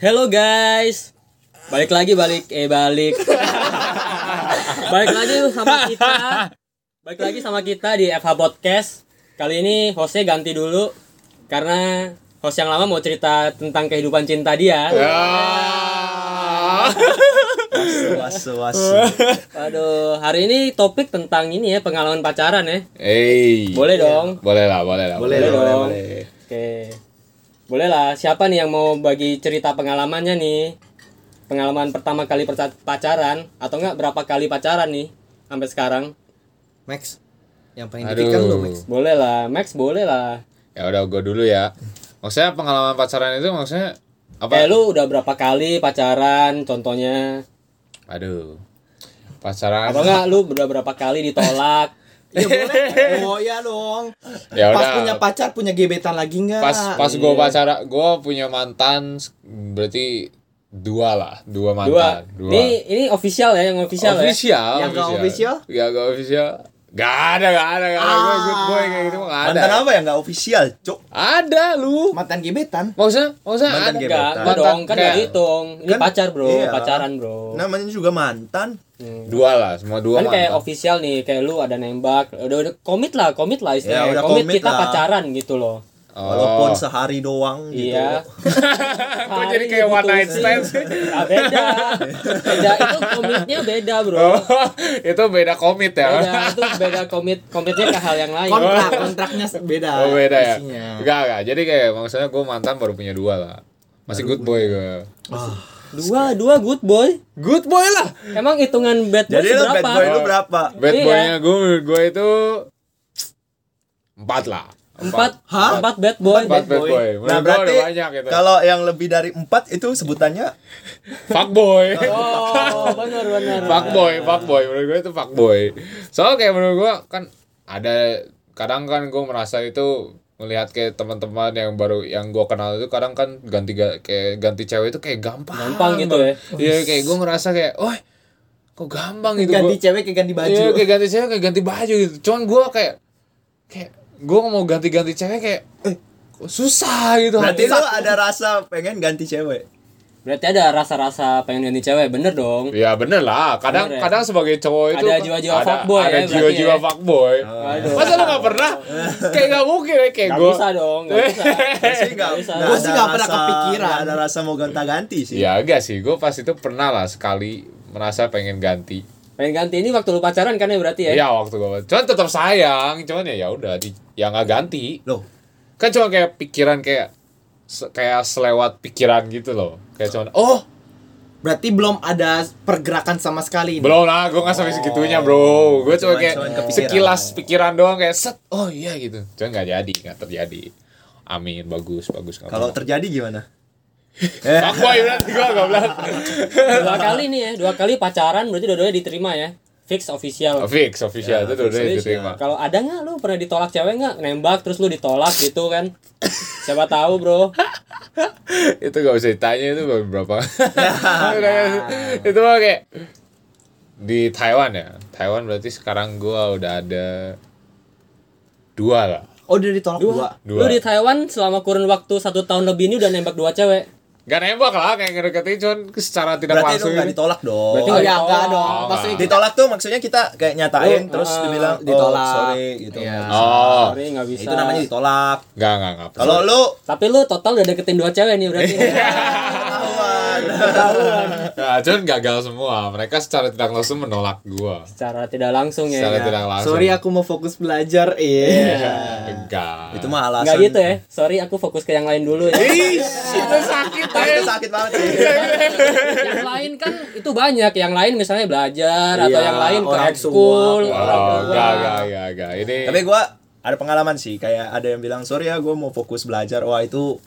Hello guys. Balik lagi balik eh balik. balik lagi sama kita. Balik lagi sama kita di FH Podcast. Kali ini hostnya ganti dulu karena host yang lama mau cerita tentang kehidupan cinta dia. Wasu wasu. Aduh, hari ini topik tentang ini ya pengalaman pacaran ya. Eh. Boleh dong. Boleh lah, boleh lah. Boleh Boleh boleh dong. boleh. Oke. Boleh lah, siapa nih yang mau bagi cerita pengalamannya nih? Pengalaman pertama kali perca- pacaran atau enggak berapa kali pacaran nih sampai sekarang? Max, yang paling kan Aduh. dipikir lo Max. Boleh lah, Max boleh lah. Ya udah gue dulu ya. Maksudnya pengalaman pacaran itu maksudnya apa? Eh lu udah berapa kali pacaran contohnya? Aduh. Pacaran. Atau enggak lu udah berapa kali ditolak? Iya boleh. Oh iya dong. Ya Pas udah. punya pacar punya gebetan lagi nggak? Pas pas gue pacaran, gue punya mantan berarti dua lah, dua Dua. mantan. Dua. Ini ini official ya, yang official, ya. official. Yang nggak official? Ya gak official. Gak ada, gak ada, gak ada. Gue good boy kayak gitu mah gak ada. Mantan apa ya nggak official, Cok? Ada lu. Mantan gebetan. Maksudnya, maksudnya Mantan gebetan. ada. Enggak, enggak dong, kan enggak Kayak- dihitung. Ini Kan- pacar, Bro. iya. Pacaran, Bro. Namanya juga mantan. Hmm. Dua lah, semua dua kan kayak mantan. official nih kayak lu ada nembak udah udah komit lah komit lah istilahnya Ya, udah komit, komit kita lah. pacaran gitu loh Oh. Walaupun sehari doang gitu. iya gitu Kok jadi kayak one night stand sih? Ah, beda beda itu komitnya beda bro Oh, itu beda komit ya. beda itu beda komit komitnya ke hal yang lain Kontrak kontraknya beda. Oh, beda ya. isinya. Enggak, enggak. Jadi kayak maksudnya gue mantan baru punya dua lah. Masih good boy gue. dua dua good boy Good boy lah. emang hitungan bad boy Jadi lu bad berapa boy lu berapa? Bad Iya. boynya gue menurut gue itu empat lah. empat Hah? empat bad boy Empat bad boy. Nah, Menurut gue udah berarti banyak gitu. itu. kalau yang lebih dari 4 itu sebutannya Fuck boy. oh benar benar fuck boy, fuck boy. Menurut gue itu fuck boy. Soalnya kayak menurut gue kan ada kadang kan gue merasa itu melihat kayak teman-teman yang baru yang gue kenal itu kadang kan ganti ga- kayak ganti cewek itu kayak gampang gampang gitu ya Iya kayak gue ngerasa kayak, wah kok gampang gitu Ganti gua- cewek ke ganti baju. Iya kayak ganti cewek kayak ganti baju gitu. Cuman gue kayak kayak gue mau ganti-ganti cewek kayak eh, kok susah gitu. berarti lu Hati- ada rasa pengen ganti cewek. berarti ada rasa-rasa pengen ganti cewek bener dong Iya, Ya bener lah, kadang Bener ya? kadang sebagai cowok itu Ada jiwa-jiwa ada- fuckboy ya, ada berarti jiwa-jiwa ya. fuckboy. Aduh. Masa lu gak pernah? kayak gak mungkin ya, kayak Gak gue. bisa dong, gak bisa. Sih enggak. bisa. Gua sih nggak pernah kepikiran. ada rasa mau gonta-ganti sih. Ya enggak sih, gue pas itu pernah lah sekali merasa pengen ganti. Pengen ganti ini waktu lu pacaran kan ya berarti ya? Iya waktu gue, cuman tetap sayang, cuman ya ya udah, di- ya nggak ganti. Loh, kan cuma kayak pikiran kayak se- kayak selewat pikiran gitu loh kayak cuman oh Berarti belum ada pergerakan sama sekali. nih. belum lah gue nggak sampai segitunya bro gue cuma Cuman- kayak cuman kepikiran. sekilas pikiran doang kayak set oh iya gitu cuman nggak jadi nggak terjadi amin bagus bagus nggak kalau apa-apa. terjadi gimana? fuckboy berarti gue goblok Dua kali nih ya, dua kali pacaran berarti dua-duanya diterima ya. Fix official. fix Ya, official itu udah fix official. diterima Kalau ada nggak lu pernah ditolak cewek nggak? Nembak terus lu ditolak gitu kan? Siapa tahu bro. itu gak usah ditanya itu berapa itu mah kayak di Taiwan ya Taiwan berarti sekarang gue udah ada dua lah Oh udah ditolak dua. Dua. Lu di Taiwan selama kurun waktu satu tahun lebih ini udah nembak dua cewek. Gak nembak lah kayak ngedeketin cuman secara Berarti tidak lu langsung enggak gitu. ditolak dong. Berarti Oh nggak ya ditolak. enggak dong. Oh, Maksudnya nggak. Ditolak tuh maksudnya kita kayak nyatain Lu, terus ah, dibilang oh, ditolak. sorry gitu. Iya. Oh. Sorry nggak bisa. Itu namanya ditolak. Gak gak gak. Kalau lu Tapi lu total udah deketin dua cewek nih berarti. ketahuan. Nah, cuman gagal semua. Mereka secara tidak langsung menolak gua. Secara tidak langsung ya. Secara Nggak- tidak langsung. Sorry aku mau fokus belajar. Iya. Enggak. Itu mah alasan. Nggak gitu ya. Sorry aku fokus ke yang lain dulu ya. Iya. Ish, itu sakit Itu banget. sakit banget sih. Iya, yang lain kan itu banyak yang lain misalnya belajar atau Iya, yang lain ke orang ekskul tua. orang Oh, tua. enggak, enggak, enggak, enggak. Ini iya. Tapi gua ada pengalaman sih kayak ada yang bilang sorry ya gua mau fokus belajar. Wah itu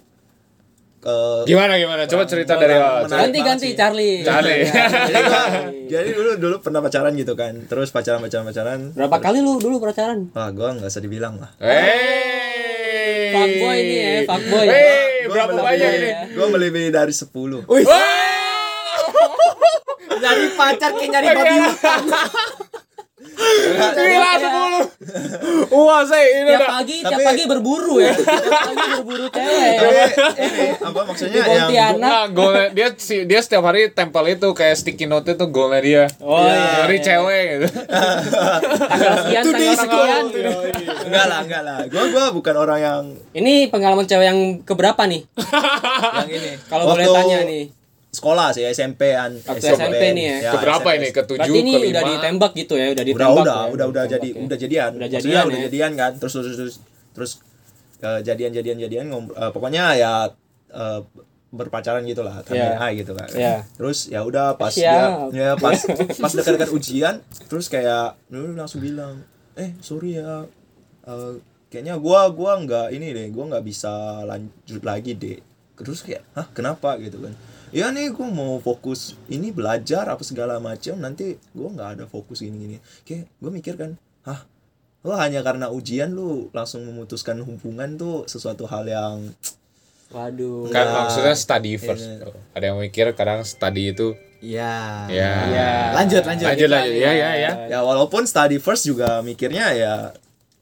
eh, ke gimana gimana? Coba cerita Menang- dari menang. ganti ganti Charlie Charlie. nah, jadi, gua, jadi dulu dulu pernah pacaran gitu kan. Terus pacaran pacaran pacaran. berapa kali lu dulu pacaran Wah gua nggak usah dibilang lah. Hey. Fuckboy ini ya, fuckboy. Hey, Gua Eh, berapa melebihi- banyak ini? ya. Gua melebihi dari 10. Wih, Wah! nyari Iya. pacar kayak nyari babi hutan. Gila sepuluh. Wah, saya ini tiap udah. pagi tiap tapi- Iya. pagi berburu ya tiap pagi berburu Tapi cewek ini apa di maksudnya yang Pontianak Nah, golnya dia si- dia setiap hari tempel itu kayak sticky note itu golnya dia. Oh, iya. Dari cewek gitu. Iya, tanggal sekian tanggal sekian enggak lah enggak lah gue gue bukan orang yang ini pengalaman cewek yang keberapa nih yang ini kalau boleh Waktu tanya nih sekolah sih SMP an Waktu SMP nih ya. Keberapa SMP. ini? Ketujuh, berarti ini kelima. udah ditembak gitu ya udah udah ditembak udah ya, udah udah ditembak jadi ya. udah jadian Udah Maksudnya jadian udah ya. jadian kan terus terus terus terus eh, jadian jadian jadian ngom- eh, pokoknya ya eh, berpacaran gitu lah Iya. yeah. gitu kan Iya. terus ya udah pas Siap. dia ya pas pas dekat-dekat ujian terus kayak lu langsung bilang eh sorry ya eh, kayaknya gua gua nggak ini deh gua nggak bisa lanjut lagi deh terus kayak hah kenapa gitu kan ya nih gua mau fokus ini belajar apa segala macam nanti gua nggak ada fokus gini gini kayak gua mikir kan hah lo hanya karena ujian lu langsung memutuskan hubungan tuh sesuatu hal yang waduh Kan Nah, maksudnya study Iya. first. Ada yang mikir kadang study itu Ya. ya. ya Lanjut, lanjut. Lanjut lanjut. Ya ya ya. ya walaupun study first juga mikirnya ya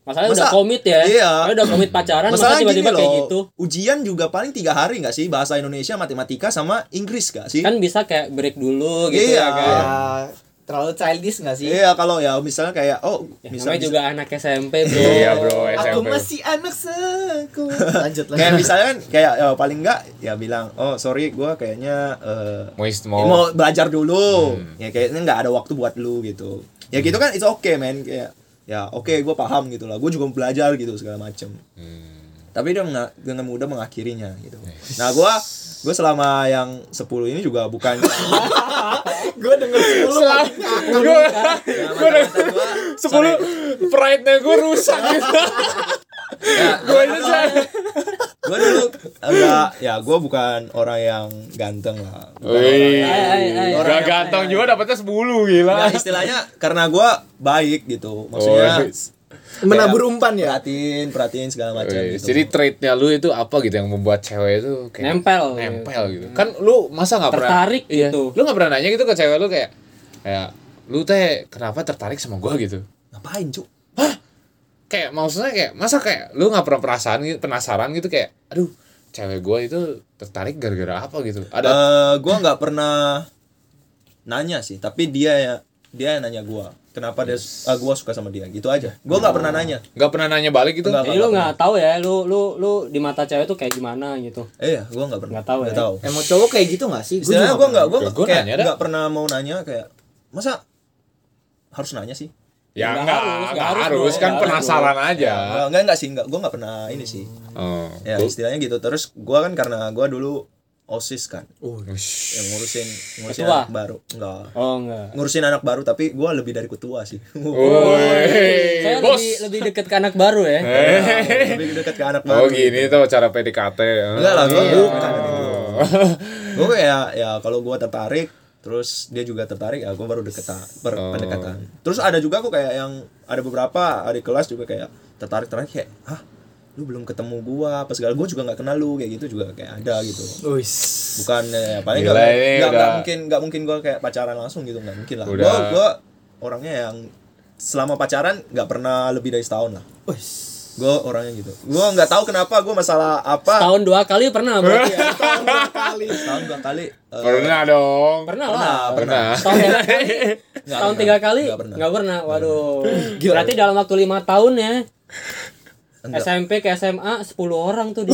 masalahnya udah Masa- komit ya Iya. Kalau udah komit pacaran masa Masalah gini Kan tiba-tiba loh, kayak gitu ujian juga paling tiga hari nggak sih bahasa Indonesia, matematika sama Inggris nggak sih? kan bisa kayak break dulu gitu Iya. ya kan Ya, terlalu childish gak sih? Iya kalau ya misalnya kayak oh Ya, misalnya namanya juga anak SMP bro Iya, bro. Aku SMP. masih anak seku. Lanjut, kayak lanjut. misalnya kan, kayak ya, paling nggak ya bilang oh sorry gua kayaknya eh, Mau ist- mau. mau belajar dulu Hmm. ya kayaknya nggak ada waktu buat lu gitu ya gitu kan it's okay man kayak ya oke gua paham gitu lah gue juga mau belajar gitu segala macem Hmm. tapi dia menga- dengan mudah mengakhirinya gitu nah gua gue selama yang 10 ini juga bukan Gue denger dulu. Gue Gue sepuluh pride-nya gue rusak gitu. Gue aja saya. Gue dulu enggak ya gue bukan orang yang ganteng lah. Oh, Bukan orang- Wih, Ay, ay, ay. gak ganteng juga dapetnya 10 gila. Nah, istilahnya karena gue baik gitu. Maksudnya Oh, Menabur umpan ya. perhatiin, perhatiin segala macam Wih, gitu. Oh, iya. Jadi trade-nya lu itu apa gitu yang membuat cewek itu kayak Nempel. nempel gitu. Kan lu masa nggak pernah Tertarik Iya. gitu. Lu nggak pernah nanya gitu ke cewek lu kayak kayak lu teh kenapa tertarik sama gua gitu. ngapain, Cuk? Kayak maksudnya kayak masa kayak lu nggak pernah perasaan gitu, penasaran gitu kayak aduh cewek gua itu tertarik gara-gara apa gitu. Eh Ada gue nggak pernah nanya sih, tapi dia ya dia yang nanya gue. Kenapa dia ah, gua suka sama dia gitu aja. Gue nggak Oh. pernah nanya. nggak pernah nanya balik gitu. Nggak. jadi lu nggak tahu ya lu lu lu di mata cewek tuh kayak gimana gitu Eh, ya, gue nggak pernah. Nggak tahu ya. Emang cowok kayak gitu gak sih? Gua Istilahnya juga gue nggak gue Ya, gua kayak nanya dah. nggak pernah mau nanya kayak masa harus nanya sih? Ya Nggak enggak, harus, enggak nggak harus, harus, bro. kan Nggak harus, penasaran aja. Nggak, nggak nggak sih nggak gue nggak pernah ini sih Oh. ya Gua- istilahnya gitu terus gua kan karena gua dulu osis kan Ush. yang ngurusin ngurusin Ketua? anak baru enggak oh enggak ngurusin anak baru tapi gua lebih dari ketua sih Oh. saya Woi, bos. Eh. lebih lebih deket ke anak baru ya lebih dekat ke anak Oh baru gini tuh cara PDKT. enggak lah gua Iya. bukan gue kayak ya kalau gua tertarik terus dia juga tertarik ya gua baru deketan ber- Oh. pendekatan terus ada juga kok kayak yang ada beberapa adik kelas juga kayak tertarik tertarik kayak hah lu belum ketemu gua apa segala gua juga nggak kenal lu kayak gitu juga kayak ada gitu Uis. bukan ya, paling Gila, nggak ini nggak- nggak udah- mungkin nggak mungkin gue kayak pacaran langsung gitu nggak mungkin lah gue Udah. gue orangnya yang selama pacaran nggak pernah lebih dari setahun lah Uis. gue orangnya gitu gue nggak tahu kenapa gue masalah apa tahun dua kali pernah Eh. berarti ya setahun dua kali eh, ah, Pernah dong. pernah lah pernah pernah Ah, Pernah. tahun tiga kali tahun tiga kali Nggak pernah. nggak pernah waduh berarti dalam waktu lima tahun ya SMP ke SMA 10 orang tuh di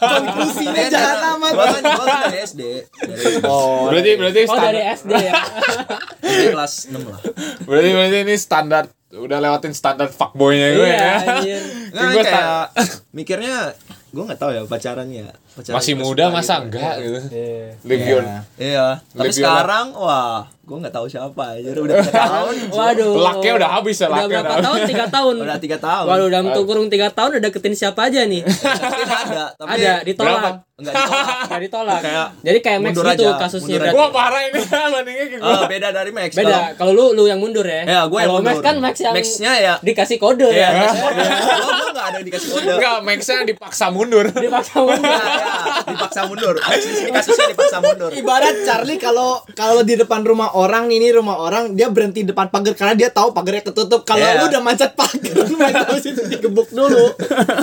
Konklusinya jahat amat. gue kan gua kan dari SD dari Oh. Berarti berarti Oh dari standar. SD ya. SD kelas 6 lah Berarti berarti ini standar udah lewatin standar fuckboy-nya gue Iya, ya. anjir. nah, Gua kayak sta- mikirnya gue nggak tahu ya pacarannya pacaran Masih gua muda suka masa gitu. enggak gitu. Iya. Live Iya. your iya tapi Lebih sekarang wah gue nggak tahu siapa aja udah berapa tahun Waduh. Laknya udah habis ya, Udah laknya berapa udah tahun? Tiga tahun. udah tiga tahun Waduh, dalam tuh kurung tiga tahun udah deketin siapa aja nih? Mungkin ada tapi Ada Berapa? ditolak. enggak ditolak Enggak ditolak. Kayak Jadi kayak Max mundur gitu aja, kasusnya. mundur Berarti- Wah, parah ini bandingnya kayak gue. Oh, Eh, beda dari Max Beda. Kalau lu lu yang mundur ya. Kalau- ya gue yang Kalau Max mundur. kan Max yang Maxnya ya dikasih kode Iya, ya. Max- Gua- gua lo nggak ada yang dikasih kode Enggak, Max-nya dipaksa mundur. dipaksa mundur. Nah, ya, dipaksa mundur kasusnya kasusnya dipaksa mundur Ibarat Charlie kalau kalau di depan rumah orang nih, ini rumah orang dia berhenti di depan pagar karena dia tahu pagarnya ketutup. Kalau Iya. lu udah mancat pagar, lu harus itu digebuk dulu.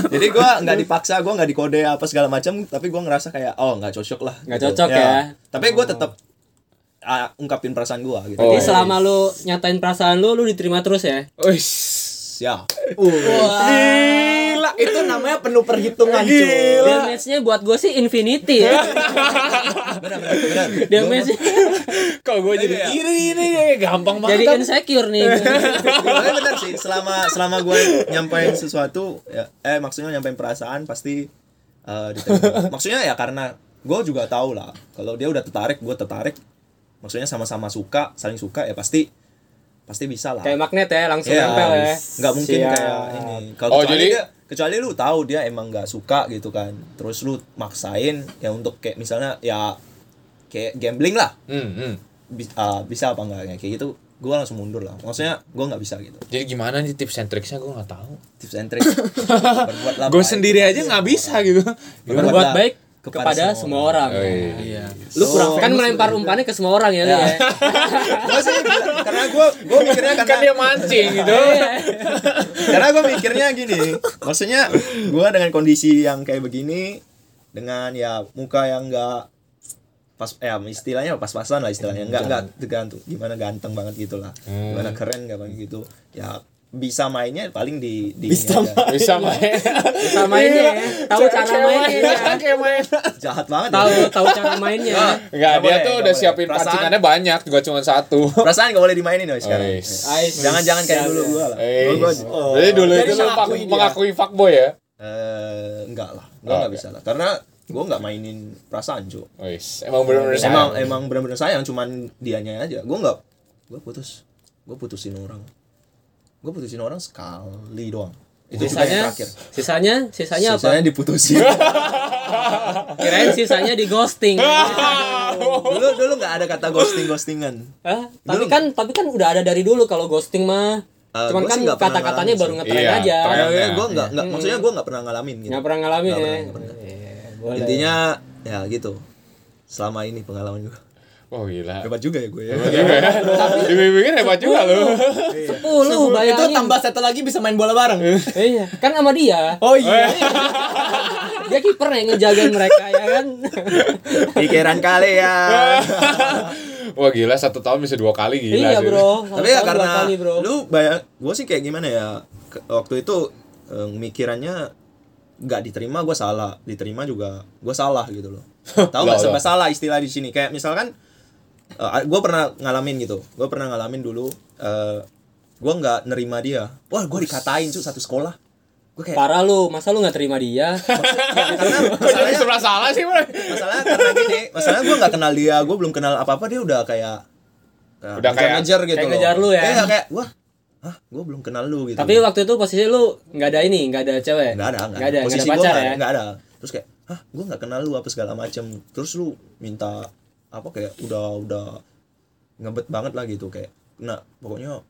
jadi gue nggak dipaksa gue nggak dikode apa segala macam tapi gue ngerasa kayak oh nggak cocok lah Nggak cocok ya. tapi gue tetap ah, ungkapin perasaan gue gitu Oh. Jadi selama lu nyatain perasaan lu, lu diterima terus ya. Wih. ya Gila, itu namanya penuh perhitungan, cuy. Damage-nya buat gue sih infinity ya. Ah, benar benar benar Damage-nya Kok gue jadi iri ini ya, gampang jadi banget. insecure nih. Tapi benar sih selama selama gue nyampein sesuatu ya, eh maksudnya nyampein perasaan pasti eh, diterima. maksudnya ya karena gue juga tahu lah kalau dia udah tertarik gue tertarik maksudnya sama-sama suka saling suka ya pasti pasti bisa lah Kayak magnet ya, langsung Iya, nempel ya. nggak mungkin Siap. kayak ini kalau Oh, kecuali jadi- dia- kecuali lu tahu dia emang nggak suka gitu kan terus lu maksain ya untuk kayak misalnya ya kayak gambling lah Hmm, hmm. Bi- ah, bisa apa enggaknya kayak gitu gue langsung mundur lah maksudnya gue nggak bisa gitu Jadi gimana nih tips and tricksnya gue gak tahu. tips and trick Berbuatlah Gue baik. sendiri aja nggak bisa gitu. Berbuatlah Berbuat baik kepada, semua orang. Oh, iya. Lu kurang So, kan melempar umpannya ke semua orang ya, lu Oh. Ya. ya. Gua sih bila- karena gue gue mikirnya Kan karena dia mancing Iya. gitu. karena gue mikirnya gini maksudnya gue dengan kondisi yang kayak begini dengan ya muka yang enggak pas ya istilahnya pas-pasan lah istilahnya enggak enggak tergantung gimana ganteng banget gitu lah Hmm. gimana keren gak banget gitu ya bisa mainnya paling di di ini Bisa aja. Bisa main. Sama mainnya ya. Tahu cara mainnya. ya. Kayak main. jahat banget ya. Tahu tahu cara mainnya. Nah. ya. Enggak, Nggak Ah, boleh, dia tuh nggak udah boleh. siapin Perasaan- pancingannya banyak, juga cuma satu. perasaan gak boleh dimainin loh sekarang Wis. jangan jangan kayak dulu gue lah Eh, Dulu gua- Oh. oh. Jadi dulu Jadi itu lu mengakui fak- dia. mengakui fuckboy ya? eh enggak lah Oh, gue nggak Oke. bisa lah karena gue nggak mainin perasaan cu Wis, Oh, emang bener-bener emang sayang. emang benar-benar sayang cuman dianya aja gue nggak gue putus gue putusin orang gue putusin orang sekali doang itu juga yang Sisanya terakhir sisanya sisanya apa? Sisanya diputusin Kirain sisanya di ghosting. dulu dulu nggak ada kata ghosting ghostingan Hah? Tapi kan tapi kan udah ada dari dulu kalau ghosting mah. Eh, Cuman gua kan sih nggak pernah kata-katanya ngalamin baru sih. ngetren Iya, aja. tren. gue Iya. nggak nggak maksudnya gue nggak pernah ngalamin gitu Nggak pernah ngalamin Nggak ya. pernah, nggak pernah. Iya, boleh. intinya ya gitu selama ini pengalaman gue Wah gila. hebat juga ya gue ya Iya. Dipikir hebat juga lu. sepuluh bayangin. Itu tambah satu lagi bisa main bola bareng. Iya, kan sama dia. Oh iya. Dia kiper yang ngejagain mereka ya kan. pikiran kali ya Iya, Wah gila, satu tahun bisa dua kali gila iya, sih. Bro. Satu tapi tahun dua ya karena kali, Bro. lu bayang gue sih kayak gimana ya ke- waktu itu eh, mikirannya nggak diterima gue salah diterima juga gue salah gitu loh tahu nggak Lah, serba lah. salah istilah di sini kayak misalkan gue pernah ngalamin gitu gue pernah ngalamin dulu gue nggak nerima dia wah gue dikatain tuh satu sekolah gue kayak Parah lu, masa lu nggak terima dia? karena Kok jadi masalahnya sebelah salah sih, Bro? masalahnya karena gini masalahnya gue nggak kenal dia gue belum kenal apa apa dia udah kayak kayak Udah kayak- ngejar gitu kayak loh. ngejar lu ya. Iya, kayak wah hah gue belum kenal lu gitu Tapi waktu itu posisi lu nggak ada ini, nggak ada cewek. nggak ada nggak ada, nggak posisi ada gue pacar nggak ya. nggak ada terus kayak hah gue nggak kenal lu apa segala macem terus lu minta apa kayak udah udah ngebet banget lah gitu kayak nah pokoknya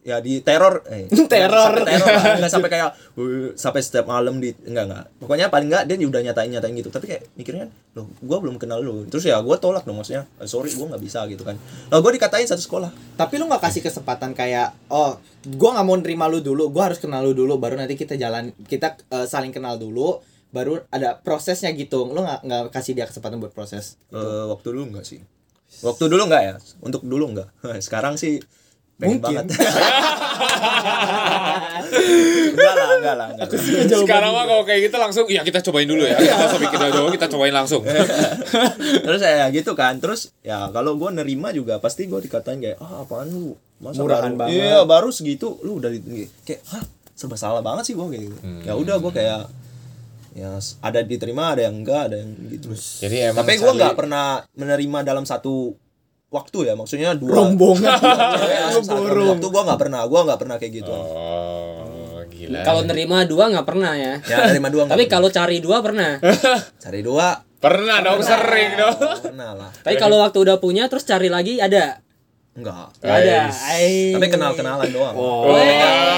ya di teror eh, Teror. sampai teror lah. nggak sampai kayak "Wuh," sampai setiap malam di nggak nggak pokoknya paling nggak dia udah nyatain nyatain gitu tapi kayak mikirnya loh gue belum kenal lu terus ya gue tolak dong maksudnya "Eh, sorry gue nggak bisa gitu kan loh gue dikatain satu sekolah Tapi lu nggak kasih kesempatan kayak oh, gua nggak mau nerima lu dulu, gua harus kenal lu dulu baru nanti kita jalan kita eh, saling kenal dulu baru ada prosesnya gitu. Lu nggak nggak kasih dia kesempatan buat proses. Eh, waktu dulu enggak sih waktu dulu enggak ya untuk dulu enggak sekarang sih pengen Mungkin. banget enggak lah enggak lah enggak lah. Sekarang mah kalau kayak gitu langsung, ya kita cobain dulu ya. Kita usah bikin dulu, kita cobain langsung. terus ya gitu kan terus ya kalau gue nerima juga pasti gue dikatain kayak ah apaan lu Masa baru, Murahan banget. iya baru segitu lu udah di, kayak hah serba salah banget sih gue kayak gitu Hmm. ya udah gue kayak ya s- ada diterima ada yang enggak ada yang gitu Jadi emang tapi gue saling- nggak pernah menerima dalam satu waktu ya maksudnya dua Iya, Rombongan. Satu waktu gue nggak pernah gue nggak pernah kayak gitu Oh, gila. Kalau nerima dua nggak pernah ya. ya nerima dua nggak Tapi pernah. kalau cari dua pernah. cari dua Pernah dong, sering dong. pernah lah Tapi kalau waktu udah punya terus cari lagi ada. enggak Nggak ada. Guys. Ai. Oh. tapi kenal kenalan doang Wah. Weh.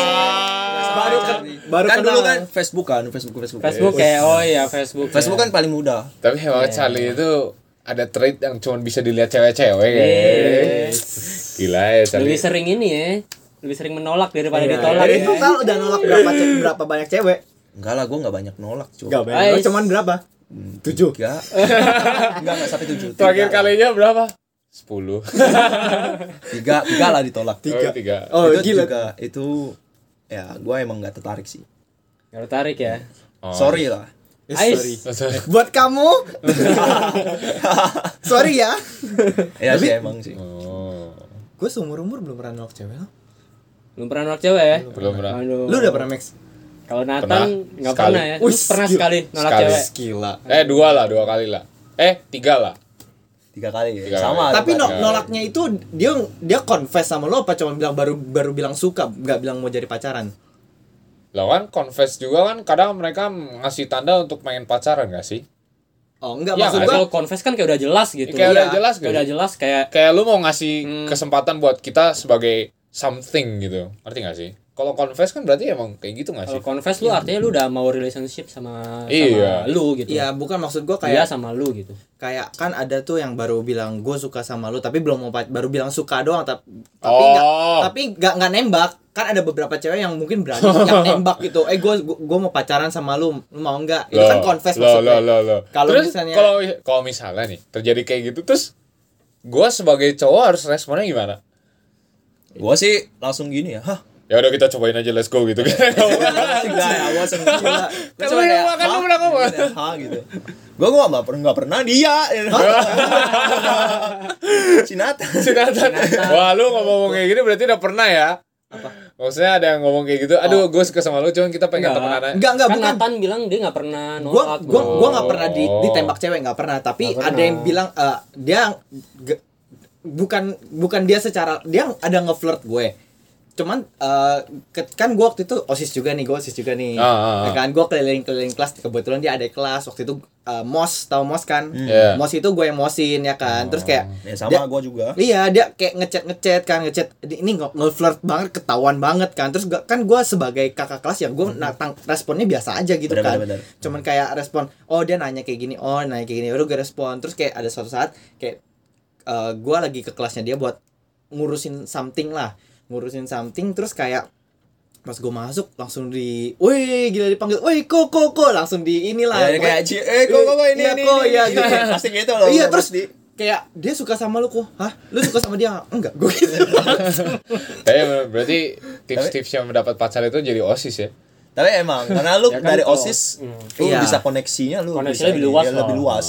baru ke, baru kan kenal. dulu kan Facebook kan Facebook Facebook Facebook ya oh iya Facebook ya. Facebook kan paling mudah Tapi hewan Charlie itu ada trait yang cuma bisa dilihat cewek-cewek ya. Gila ya Charlie. lebih sering ini ya lebih sering menolak daripada ditolak ya. Tapi itu kan udah nolak berapa ce- berapa banyak cewek? enggak lah gue nggak banyak nolak cuy Enggak banyak. Guys. Cuman berapa? Tujuh. enggak enggak enggak sampai tujuh Terakhir tiga, kalinya berapa? 10. tiga tiga lah ditolak Tiga. Oh, tiga. Oh, itu gila. juga itu ya gue emang nggak tertarik sih Gak tertarik ya Oh. sorry lah Eh, Ais. sorry. Sorry. Buat kamu. sorry ya. ya sih emang sih Oh. Gue seumur umur belum pernah nolak cewek. belum pernah nolak cewek ya Belum pernah. Aduh. Lu udah pernah Max? kalau Pernah. Nathan nggak Sekali. pernah ya Lu Wih, pernah gila. sekali nolak Sekali. cewek Gila. Eh, dua lah, dua kali lah. Eh, tiga lah. tiga kali ya Tiga sama kali. Tapi no- tertarik. Enggak. nolaknya itu dia dia confess sama lo apa cuma bilang baru baru bilang suka, nggak bilang mau jadi pacaran. Lah kan confess juga kan kadang mereka ngasih tanda untuk main pacaran gak sih? Oh, enggak Ya, maksud nggak, gua kalau confess kan kayak udah jelas gitu Kayak udah Iya. jelas Kayak gitu. udah jelas kayak Kayak lu mau ngasih Hmm. kesempatan buat kita sebagai something gitu. Ngerti gak sih? Kalau confess kan berarti emang kayak gitu gak sih? kalau confess lu artinya lu udah mau relationship sama Iya. sama lu gitu Iya, bukan maksud gua dia kayak sama lu gitu kayak kan ada tuh yang baru bilang gue suka sama lu tapi belum mau pac- baru bilang suka doang tap- tapi Oh. nggak tapi nggak nggak nembak kan ada beberapa cewek yang mungkin berani yang nembak gitu eh gue gue mau pacaran sama lu lu mau nggak itu kan confess lo, maksudnya lo, lo, lo. Kalau Terus, misalnya- kalau kalau misalnya nih terjadi kayak gitu terus gua sebagai cowok harus responnya gimana? gue sih langsung gini ya hah Ya udah kita cobain aja let's go gitu. Iya. enggak ya gue seneng gila Kan lu yang makan, lu bilang apa? ya. hah gitu gue gue nggak pernah nggak pernah dia Cinata Sinatan. Wah, lu ngomong-ngomong kayak gini berarti udah pernah ya? Maksudnya ada yang ngomong kayak gitu, aduh gue suka sama lu cuman kita Oh. pengen Enggak. temenan aja. nggak nggak kan bukan Nathan bilang dia nggak pernah gue nolak gue bro. gue nggak pernah di, ditembak cewek nggak pernah tapi Nggak ada pernah. yang bilang eh, dia ge- bukan bukan dia secara dia ada ngeflirt gue cuman eh, ke- kan gue waktu itu osis juga nih gue osis juga nih Ah, ah, ah. Ya kan gue keliling keliling kelas kebetulan dia ada kelas waktu itu eh, mos tahu mos kan Iya. mos itu gue yang mosin ya kan terus kayak ya dia- sama gue juga Iya dia kayak ngechat ngechat kan ngechat Di- ini nge- ngeflirt banget ketahuan banget kan terus gua- kan gue sebagai kakak kelas ya gue natang responnya biasa aja gitu Benar, kan benar, benar. cuman kayak respon oh dia nanya kayak gini oh nanya kayak gini udah gue respon terus kayak ada suatu saat kayak eh gue lagi ke kelasnya dia buat ngurusin something lah ngurusin something terus kayak pas gue masuk langsung di, woi gila dipanggil, woi kok kok kok langsung di inilah Ya, kayak "Ci, eh kok kok kok ini Iya, ini kok, ini, iya, ini." gitu. pasti gitu loh iya Gua terus pasti. kayak dia suka sama lu kok hah lu suka sama dia nggak?" enggak gue gitu Tapi bener- berarti tips-tips yang mendapat pacar itu jadi osis ya. tapi emang karena lu Ya kan, dari kalau- osis lu Iya. bisa koneksinya lu Koneksinya bisa lebih ini, luas ya, loh. lebih luas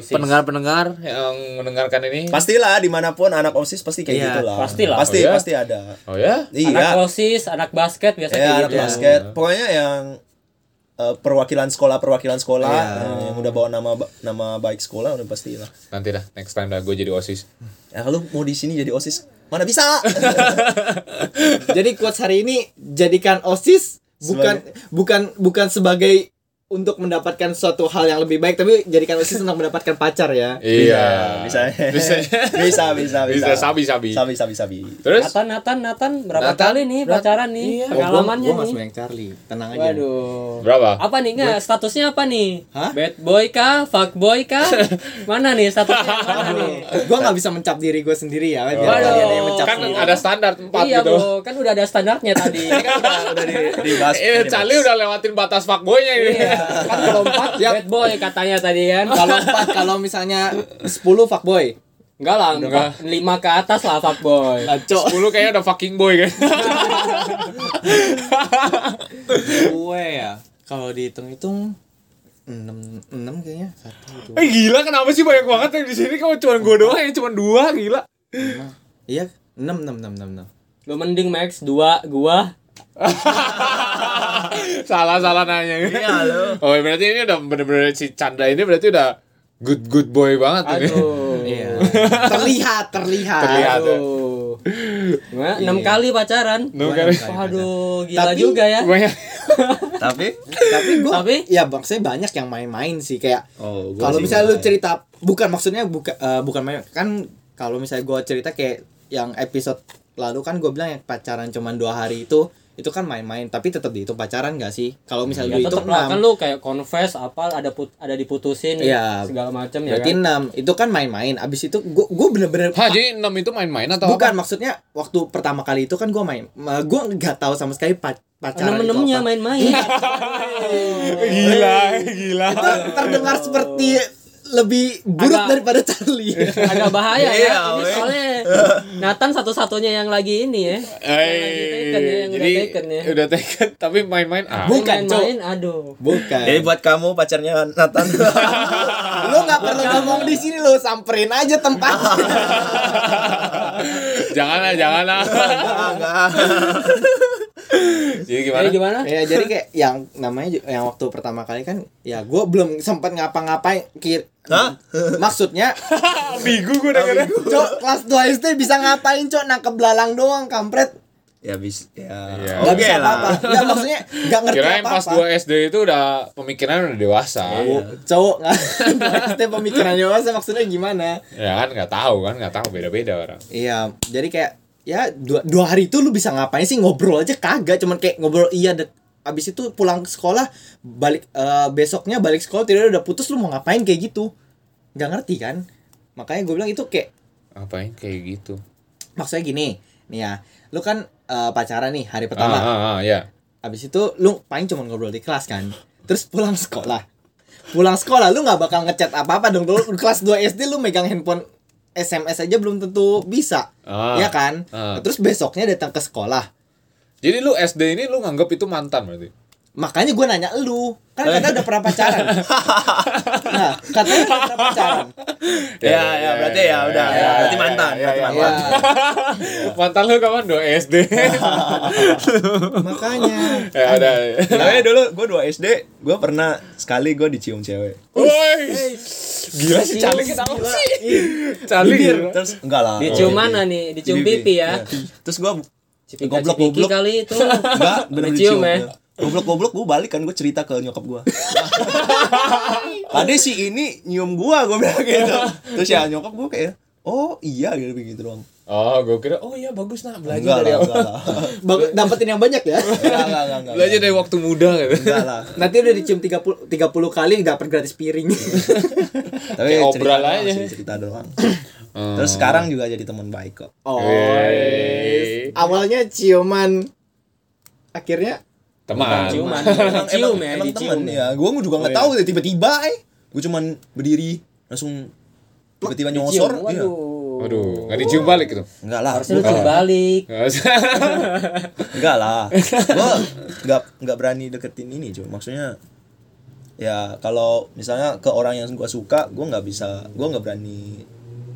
Oh, Osis. pendengar-pendengar yang mendengarkan ini, pastilah dimanapun anak osis pasti kayak Iya, gitu lah pastilah. pasti Oh, iya? pasti ada oh ya, anak iya osis anak basket biasanya ya kayak anak gitu. basket pokoknya yang eh, perwakilan sekolah perwakilan sekolah Iya. eh, yang udah bawa nama ba- nama baik sekolah udah pasti lah nanti dah next time dah gue jadi osis. ya lu mau di sini jadi osis mana bisa jadi quotes hari ini jadikan osis bukan bukan bukan sebagai untuk mendapatkan suatu hal yang lebih baik tapi jadikan osis untuk mendapatkan pacar ya Iya, bisa Bisa. bisa bisa bisa Bisa, sabi, sabi. sabi sabi sabi Terus Nathan Nathan Nathan berapa Nathan, kali nih pacaran nih pengalamannya gue nih yang Charlie tenang aja waduh berapa? apa nih nggak statusnya apa nih Hah? bad boy kah fuck boy kah mana nih statusnya yang mana nih gue nggak bisa mencap diri gue sendiri ya biar Waduh. kalian yang mencap Kan sendiri. ada standar tempat iya gitu. bro kan udah ada standarnya tadi Ini kan udah, udah di dibahas Eh, ini, Charlie udah lewatin batas fuckboynya ini. iya. kan melompat bad boy katanya tadi kan kalau empat kalau misalnya sepuluh fuckboy enggak lah empat- lima ke atas lah fuck boy ngaco 10 kayaknya udah fucking boy kan. gue ya kalau dihitung-hitung enam enam kayaknya satu dua eh gila kenapa sih banyak banget yang di sini kamu cuma gue doang ya cuma dua gila. Iya, 6 6 6 6 lu mending max dua gua salah salah nanya. Iya, lo. Oh berarti ini udah bener-bener si Chandra ini berasti udah good good boy banget ini. aduh Iya. terlihat, terlihat. Terlihat. aduh Nah, enam kali pacaran Enam kali. waduh gila Tapi- juga ya kan. Banyak. tapi Tapi gua Tapi? ya Bang, saya banyak yang main-main sih kayak oh gua kalau sih misalnya lu nggak. cerita bukan maksudnya bukan eh, bukan main kan kalau misalnya gua cerita kayak yang episode lalu kan gue bilang yang pacaran cuman dua hari itu itu kan main-main tapi tetap dihitung pacaran gak sih kalau Ya, misalnya gue tetep hitung lah kan 6 lu kayak confess apa ada put ada diputusin Iya. segala macam ya berarti kan. 6 itu kan main-main abis itu gue gue bener-bener Hah, jadi 6 itu main-main atau kan- bukan apa? maksudnya waktu pertama kali itu kan gue main gue nggak tahu sama sekali pac- pacaran itu Enam-enamnya apa. main-main. Gila, Eh. gila. Itu terdengar seperti lebih buruk Agak- daripada Charlie agak bahaya ya. Iya, Ini weh. soalnya Nathan satu-satunya yang lagi ini ya. Eh, Yang lagi taken ya, yang jadi udah taken ya. udah taken tapi main-main ah. Bukan, Yang main-main aduh. bukan Jadi Ya, buat kamu pacarnya Nathan. lo nggak perlu ngomong di sini lo samperin aja tempatnya jangan lah, jangan lah. Enggak, enggak. jadi gimana? Jadi Eh, gimana? ya jadi kayak yang namanya ju- yang waktu pertama kali kan ya gue belum sempat ngapa-ngapain kir Hah? maksudnya Ambigu gue dengernya. cok kelas 2 SD bisa ngapain cok nangkep belalang doang kampret Ya bis ya. Iya. nggak Oke bisa apa-apa lah. nggak maksudnya nggak ngerti Kirain apa-apa pas 2 SD itu udah pemikiran udah dewasa. Iya. Cowok- Iya. cowok nggak SD pemikirannya masa maksudnya gimana Ya kan nggak tahu kan, nggak tahu beda-beda orang. iya jadi kayak ya dua, dua hari itu lu bisa ngapain sih ngobrol aja kagak cuman kayak ngobrol iya dek abis itu pulang ke sekolah balik eh, besoknya balik sekolah tidak udah putus lu mau ngapain kayak gitu nggak ngerti kan makanya gue bilang itu kayak Ngapain kayak gitu? maksudnya gini nih ya lu kan eh, pacaran nih hari Ah, pertama ah, ah, ya. Abis itu lu paling cuma ngobrol di kelas kan. Terus pulang sekolah. Pulang sekolah lu nggak bakal ngechat apa-apa dong. Lu kelas 2 SD lu megang handphone SMS aja belum tentu bisa. Ah. ya kan? Ah. Terus besoknya datang ke sekolah. Jadi lu SD ini lu nganggap itu mantan berarti? Makanya gue nanya lu, kan Eh. katanya udah pernah pacaran. nah, katanya udah pernah pacaran. Ya, ya, berarti ya udah. ya, Berarti ya, mantan, ya, berarti ya, Ya, mantan. Iya. ya. Mantan lu kapan 2 SD? makanya. ya udah. Tapi dulu gue 2 SD, gue pernah sekali gue dicium cewek. Woi. Gila sih Charlie kenapa sih? Charlie. Bibir. gila. Terus enggak lah. ya? Dicium Oh, mana pipi. nih? Dicium Di pipi, pipi ya. iya. Terus gue goblok Cipika-cipiki goblok. kali itu. Enggak, bener Dicium dicium. ya. Goblok goblok gue balik kan gue cerita ke nyokap gue. Tadi si ini nyium gue, gue bilang gitu. Terus ya nyokap gue kayak Oh iya gitu begitu doang. Oh, gue kira oh iya bagus nah Enggak belajar dari lah, enggak lah. Bang- dapetin yang banyak ya. Enggak enggak enggak, enggak. belajar dari waktu muda gitu. Enggak lah. Nanti udah dicium 30 30 kali dapat gratis piring. Tapi Kayak cerita obral doang aja. sih, cerita doang. Terus sekarang juga jadi teman baik kok. Oh. Wey. Awalnya ciuman akhirnya Teman. Ciuman. Emang- Cium emang- ya, emang dicium. temen ya. Gue juga nggak tahu deh tiba-tiba eh. Gue cuman berdiri langsung tiba-tiba Cium. nyosor. Iya. Waduh. Aduh, nggak dicium balik Ya gitu. Enggak lah. Harusnya lu bukan. cium balik. Nggak usah. Enggak lah. Gue nggak nggak berani deketin ini cuy. Maksudnya ya kalau misalnya ke orang yang gue suka, gue nggak bisa, gue nggak berani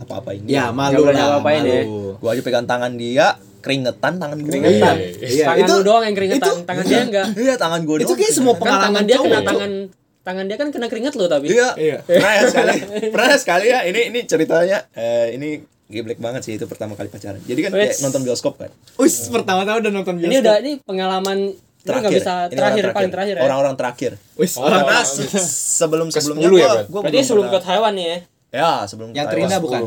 apa-apain. dia. ya malu boleh lah ngapa-ngapain ya. malu. Gue aja pegang tangan dia, keringetan tangan gue. Keringetan. Iya, tangan itu- lu doang yang keringetan, itu- tangan dia enggak. Iya tangan gue Itu kayak semua Kan tangan pengalaman dia kena cowok. tangan tangan dia kan kena keringet lo tapi. Iya. Pernah ya sekali. Pernah ya sekali ya. Ini ini ceritanya eh, ini geblek banget sih itu pertama kali pacaran. Jadi kan kayak Wes. nonton bioskop kan. Wih, pertama-tama udah nonton Ini udah ini pengalaman lu nggak bisa Ini orang terakhir paling terakhir ya. Orang-orang terakhir. Wis, Oh, Karena orang- se- sebelum sebelumnya Ke-sepuluh ya, gua- Brad? gua Berarti belum sebelum ke pernah- Taiwan nih ya. Ya, sebelum yang ke Trina Taiwan. bukan?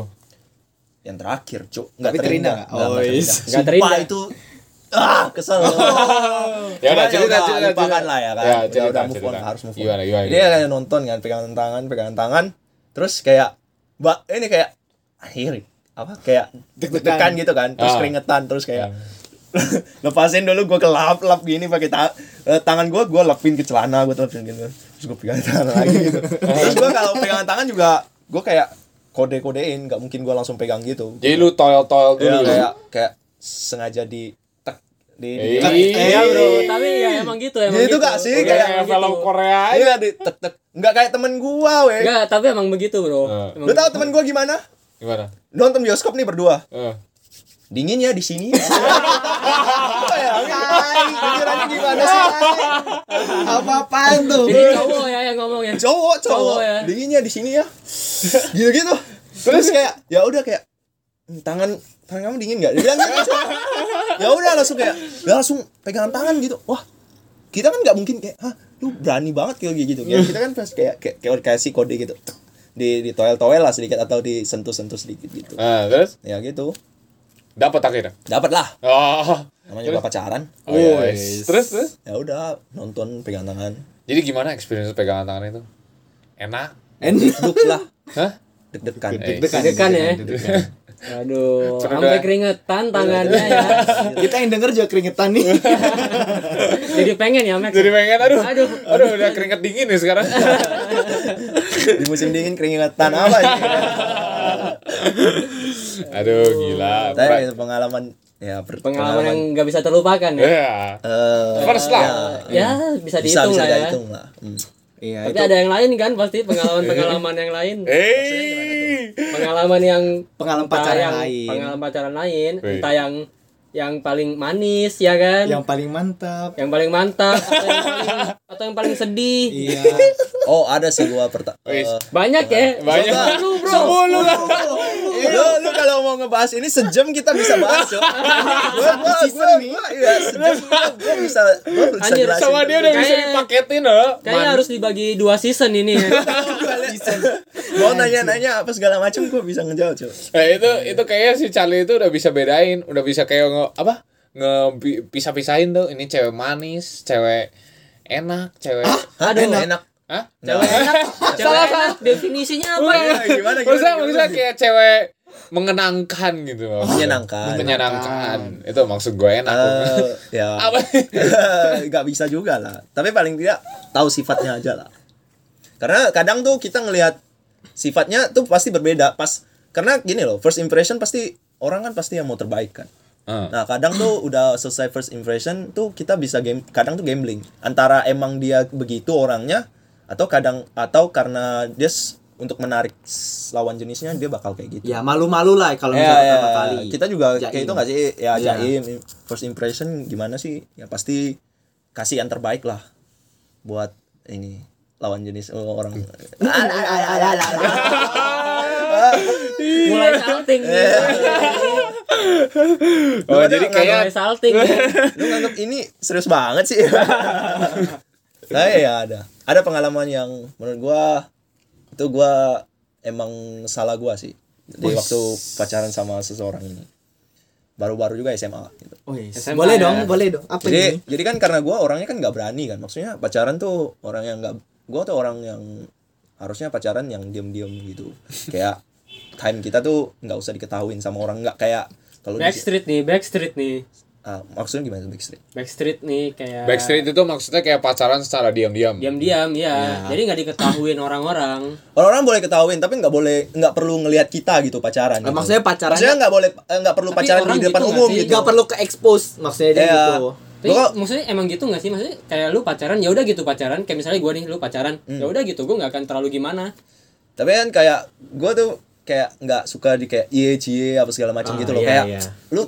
Yang terakhir, Cuk. Tapi Trina nggak? Nggak, nggak Oh, Trina. is. Nggak Sumpah Trina. itu ah, kesel. Ya udah Cuman ya cerita udah, cerita. lupakan cerita. lah ya kan. Ya, Udah, cerita, udah move on, cerita. harus move on. Gimana, gimana, Jadi gimana? kayak nonton kan pegangan tangan, pegangan tangan. Terus kayak Mbak, ini kayak akhir apa kayak deg-degan gitu kan. Terus Ah. keringetan, terus kayak lepasin dulu gue kelap-lap gini pakai ta- eh, tangan gue gue lapin ke celana gue telepin gitu terus gue pegang tangan lagi gitu terus gue kalau pegangan tangan juga gue kayak kode-kodein nggak mungkin gue langsung pegang gitu Jadi lu toil-toil dulu ya, ya. kayak kayak sengaja di tek di, di Eh, tek. iya, bro. Tapi ya emang gitu emang. Gitu nggak sih? Iya, Kayak emang Kayak gitu. film Korea aja. iya di tek tek nggak kayak temen gua weh Enggak, tapi emang begitu, Bro. Ah. Eh. Emang lu tahu temen gua gimana Gimana? nonton bioskop nih berdua Eh. dingin ya di sini Apa Eh, ya? Kai, pikirannya gimana sih Kai? Apa-apaan tuh? Ini cowok ya yang ngomong ya. cowok Cowok cowok ya. dinginnya di sini ya gitu gitu terus kayak ya udah kayak "Hmm, tangan tangan kamu dingin nggak dia bilang gitu ya udah langsung kayak dia langsung pegangan tangan gitu wah kita kan nggak mungkin kayak hah lu berani banget kayak gitu ya, kita kan pas kayak kayak kayak kasih kode gitu di di toel toel lah sedikit atau disentuh sentuh sedikit gitu Ah, Nah, terus ya gitu dapat akhirnya. dapat lah Oh. namanya juga pacaran Oh, iya, Wes. Terus terus. ya udah nonton pegang tangan Jadi gimana experience pegangan tangan itu? Enak? duduk lah Hah? deg-degan Eh, Deg-degan ya. deg-degan. Aduh, Sudah. sampai keringetan tangannya ya. Kita yang denger juga keringetan nih. Jadi pengen ya, Max. Jadi pengen aduh. Aduh. Aduh, udah keringet dingin nih sekarang. di musim dingin keringetan apa ini aduh, gila. tapi itu pengalaman ya per- Pengalaman yang nggak bisa terlupakan ya. Ya. eh, First lah. Ya, bisa bisa dihitung bisa lah ya. dihitung lah Hmm. Iya, Tapi ada yang lain kan pasti pengalaman-pengalaman yang lain. Eh. Pengalaman yang Pengalaman entah pacaran yang- lain. Pengalaman pacaran lain, Wih. entah yang yang paling manis ya kan? yang paling mantap. yang paling mantap atau yang paling, atau yang paling sedih Iya. oh ada sih gua pertama Wis. banyak ya Banyak. Sepuluh, bro Eh, lu, lu kalau mau ngebahas ini sejam kita bisa bahas yo. Gua gua gua, gua ya sejam gua, gua bisa gua bisa Anjir, jelasin. Sama dia udah bisa Kayaknya- dipaketin oh. loh. kayaknya harus dibagi dua season ini ya mau nanya-nanya apa segala macam gua bisa ngejawab cuy. Nah, itu itu kayaknya si Charlie itu udah bisa bedain, udah bisa kayak nge apa? Ngepisah-pisahin tuh ini cewek manis, cewek enak, cewek Aduh enak. enak. Hah? cewek enak cewek enak definisinya apa ya Gimana, gimana, Maksudnya, gimana? maksudnya kayak cewek mengenangkan gitu maksudnya. Menyenangkan. Menyenangkan. Itu maksud gue enak. Eh, ya. apa? nggak bisa juga lah tapi paling tidak tahu sifatnya aja lah karena kadang tuh kita ngelihat sifatnya tuh pasti berbeda pas karena gini loh first impression pasti orang kan pasti yang mau terbaik kan Eh. nah kadang tuh udah selesai first impression tuh kita bisa game kadang tuh gambling antara emang dia begitu orangnya atau kadang atau karena dia s- untuk menarik s- lawan jenisnya dia bakal kayak gitu Ya malu-malu lah Ya, kalau misalnya ya, pertama kali. Kita juga kayak Jaim. itu gak sih? Ya Iya. jaim first impression gimana sih? Ya pasti kasih yang terbaik lah buat ini lawan jenis eh, orang. Ah, mulai salting Iya. Oh, jadi kayak mulai salting Lu nganggap ini serius banget sih. Saya ya ada. Ada pengalaman yang menurut gua itu gua emang salah gua sih. Di waktu pacaran sama seseorang ini. Baru-baru juga SMA gitu. Wes, SMA boleh ya. dong, boleh dong. Apa jadi gitu? ini? jadi kan karena gue orangnya kan nggak berani kan maksudnya pacaran tuh orang yang nggak gue tuh orang yang harusnya pacaran yang diem-diem gitu kayak time kita tuh nggak usah diketahuin sama orang nggak kayak kalau di- backstreet nih backstreet nih Ah, maksudnya gimana tuh backstreet backstreet nih kayak Backstreet itu maksudnya kayak pacaran secara diam-diam. diam-diam ya Iya. jadi nggak diketahuin orang-orang orang-orang boleh ketahuin tapi nggak boleh nggak perlu ngelihat kita gitu pacaran Ah, Nah, gitu. maksudnya pacaran- maksudnya nggak boleh eh, nggak perlu Tapi pacaran di orang depan gitu nggak umum sih? gitu Gak perlu ke expose maksudnya dia Iya. gitu. Tapi Gua- maksudnya emang gitu gak sih? Maksudnya kayak lu pacaran ya udah gitu pacaran, kayak misalnya gua nih lu pacaran, Hmm. ya udah gitu gua nggak akan terlalu gimana. tapi kan kayak gue tuh kayak nggak suka di kayak iye cie apa segala macam Ah, gitu loh iya, kayak iya. lu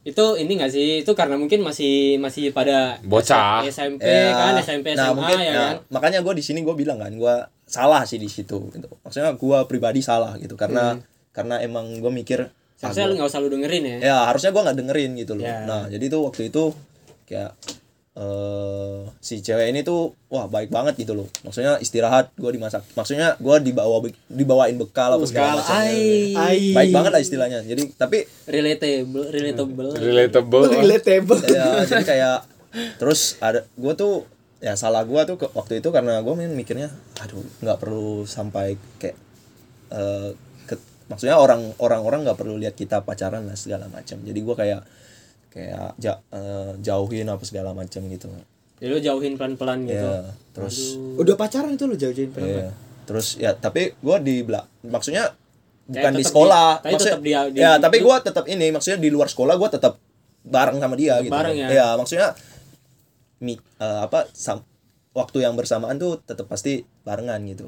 Itu ini gak sih? Itu karena mungkin masih masih pada Bocah. SMP Ya, kan, SMP SMA ya kan. nah, makanya gue di sini gue bilang kan gue salah sih di situ gitu. maksudnya gue pribadi salah gitu karena karena emang gue mikir ah, Hmm. Seharusnya lu gua- nggak usah lu dengerin ya. ya harusnya gue nggak dengerin gitu loh Ya. nah jadi tuh waktu itu kayak eh si cewek ini tuh wah baik banget gitu loh maksudnya istirahat gue dimasak maksudnya gue dibawa dibawain bekal apa Kalau segala macam ai Ai. baik banget lah istilahnya jadi tapi relatable, relatable. Iya. Relatable. Relatable. ya jadi kayak terus ada gue tuh ya salah gue tuh ke- waktu itu karena gue main mikirnya aduh nggak perlu sampai kayak eh, ke- maksudnya orang orang orang nggak perlu lihat kita pacaran lah segala macam jadi gue kayak kayak ja- eh, jauhin apa segala macam gitu Ya lu jauhin pelan-pelan gitu. ya terus Udah pacaran itu lo jauh-jauhin pernah. Iya. Terus ya tapi gue di belak maksudnya bukan di tetap sekolah, di- tapi maksudnya tetap dia- di- ya tapi di- gue tetap ini maksudnya di luar sekolah gue tetap bareng sama dia gitu. bareng ya. maksudnya mi, eh, apa sam- waktu yang bersamaan tuh tetap pasti barengan gitu.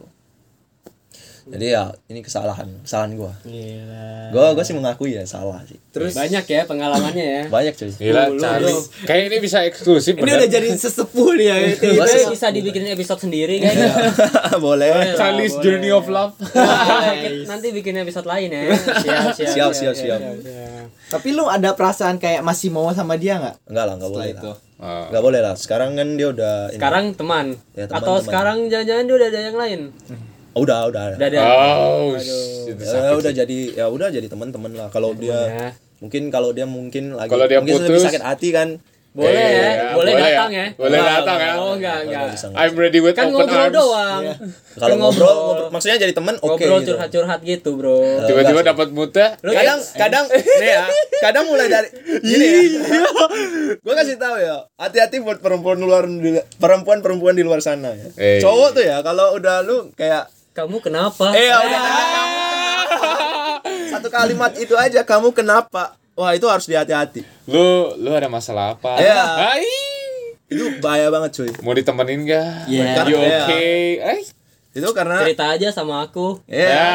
Jadi ya ini kesalahan kesalahan gue. Iya. Gila. Gue gue sih mengakui ya salah sih. Terus Banyak ya pengalamannya ya. Banyak Iya. cuy. Gila, Lu, lu, Charlie. lu. Kayak ini bisa eksklusif ini bener. udah jadi sesepuh dia. Itu gitu. Banyak. bisa dibikin episode sendiri Iya. kayaknya. Boleh. Charlie's Journey of Love. Wah, kita- Nanti bikin episode lain ya. Siap, siap, Siap, siap, siap. siap. Tapi lu ada perasaan kayak masih mau sama dia nggak? Enggak lah, enggak Setelah boleh itu. lah. Ah. Enggak boleh lah. Sekarang kan dia udah ini. Sekarang teman. Ya, teman, Atau teman. sekarang jangan-jangan dia udah ada yang lain. Oh, udah udah. udah. Udah ada. Oh, shit, itu Ya, sakit. udah jadi ya udah jadi teman-teman lah kalau dia ya. mungkin kalau dia mungkin lagi Kalau dia mungkin putus- lebih sakit hati kan Boleh, Eh, ya, ya, boleh, boleh datang ya. ya. Boleh Enggak, datang ya. Oh, enggak, enggak. bisa. I'm ready with Kan open ngobrol arms. doang. kalau Kan ngobrol, ngobrol maksudnya jadi teman oke ngobrol gitu. curhat-curhat gitu, Bro. Tiba-tiba dapat muta. Lu kadang kayak- kadang nih ya kadang mulai dari gini ya gue kasih tahu ya hati-hati buat perempuan luar perempuan perempuan di luar sana ya Eh. cowok tuh ya kalau udah lu kayak kamu kenapa? Nah, eh ya udah satu kalimat itu aja kamu kenapa wah itu harus dihati-hati Lu lu ada masalah apa? Iya. Hai. itu bahaya banget cuy Mau ditemenin gak? Iya. You Iya. okay? Eh, itu karena Cerita aja sama aku. ya ya.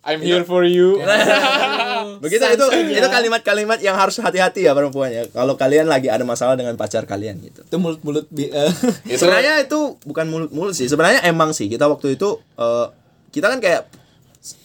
I'm here for you. begitu itu itu kalimat-kalimat yang harus hati-hati ya perempuan ya kalau kalian lagi ada masalah dengan pacar kalian gitu itu mulut-mulut bi- eh, Itu- sebenarnya itu bukan mulut-mulut sih sebenarnya emang sih kita waktu itu eh, kita kan kayak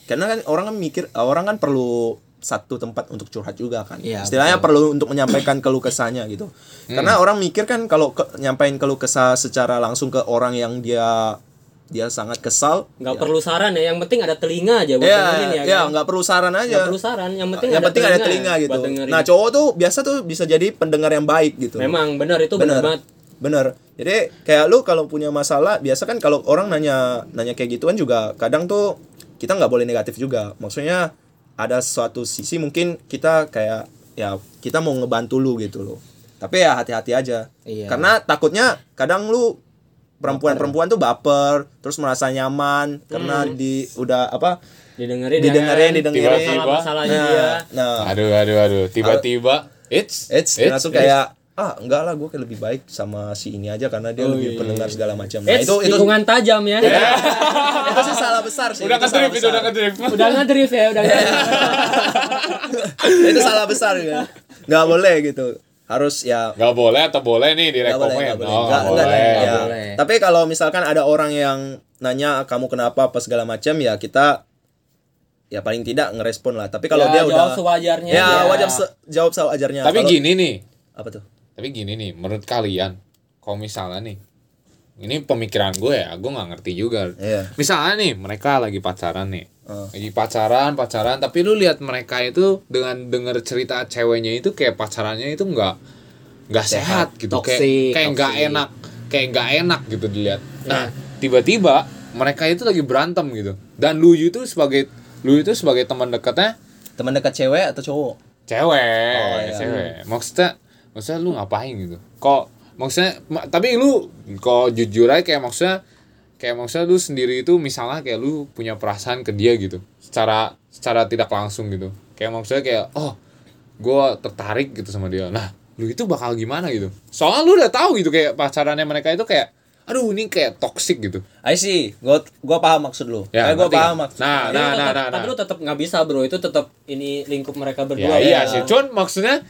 karena kan orang kan mikir orang kan perlu satu tempat untuk curhat juga kan Iya, istilahnya perlu untuk menyampaikan keluh kesahnya gitu karena orang mikir kan kalau ke, nyampein keluh kesah secara langsung ke orang yang dia dia sangat kesal Enggak perlu saran ya, yang penting ada telinga aja buat dengerin ya ya. ya kan? nggak perlu saran aja Nggak perlu saran, yang penting yang ada penting ada telinga buat gitu dengerin. nah cowok tuh biasa tuh bisa jadi pendengar yang baik gitu Memang benar itu benar banget. bener jadi kayak lu kalau punya masalah biasa kan kalau orang nanya nanya kayak gituan juga kadang tuh kita nggak boleh negatif juga maksudnya ada suatu sisi mungkin kita kayak ya kita mau ngebantu lu gitu loh tapi ya hati-hati aja Iya. karena takutnya kadang lu perempuan-perempuan tuh baper terus merasa nyaman Hmm. karena di udah apa Didengerin ya didengerin kan? didengerin Tiba-tiba. Masalah-masalahnya dia. nah, nah Aduh aduh aduh. Tiba-tiba it's It's, it's- Oh, iya, langsung kayak ah enggak lah gue lebih baik sama si ini aja karena dia lebih pendengar segala macam. Nah, Eits, itu itu tikungan tajam ya. itu sih salah besar sih. udah itu salah kedrip itu udah besar. kedrip. udah ngedrift ya, udah ngedrift. itu salah besar ya. Enggak boleh gitu. Harus ya Gak boleh atau boleh nih nggak boleh direkomen? nggak boleh. Nggak- Oh, nggak nggak- boleh. ya. boleh. Tapi kalau misalkan ada orang yang nanya kamu kenapa apa segala macam ya kita ya paling tidak ngerespon lah. Tapi kalau Ya, dia jawab udah sewajarnya. Ya, Ya. wajib se- jawab sewajarnya. Tapi Kalau- gini nih, apa tuh? tapi gini nih, menurut kalian, kalau misalnya nih, ini pemikiran gue ya, gue nggak ngerti juga. Iya. Misalnya nih, mereka lagi pacaran nih, Heeh. lagi pacaran, pacaran, tapi lu lihat mereka itu dengan denger cerita ceweknya itu kayak pacarannya itu nggak nggak sehat, gitu, kayak Toxic, kayak nggak toxic. enak, kayak nggak enak gitu dilihat. Nah, tiba-tiba mereka itu lagi berantem gitu, dan lu itu sebagai lu itu sebagai teman dekatnya Teman dekat cewek atau cowok? cewek Oh, iya. cewek maksudnya maksudnya lu ngapain gitu kok maksudnya ma- tapi lu kok jujur aja kayak maksudnya kayak maksudnya lu sendiri itu misalnya kayak lu punya perasaan ke dia gitu secara secara tidak langsung gitu kayak maksudnya kayak oh gua tertarik gitu sama dia nah lu itu bakal gimana gitu soalnya lu udah tahu gitu kayak pacarannya mereka itu kayak aduh ini kayak toxic gitu I see, gua gua paham maksud lu. Kayak ya gua ngerti nggak? paham maksud. nah Tapi nah lu nah tetap- nah, nah. Tapi lu tetap nggak bisa, Bro. Itu tetap ini lingkup mereka Ya berdua. ya. iya sih, cuman maksudnya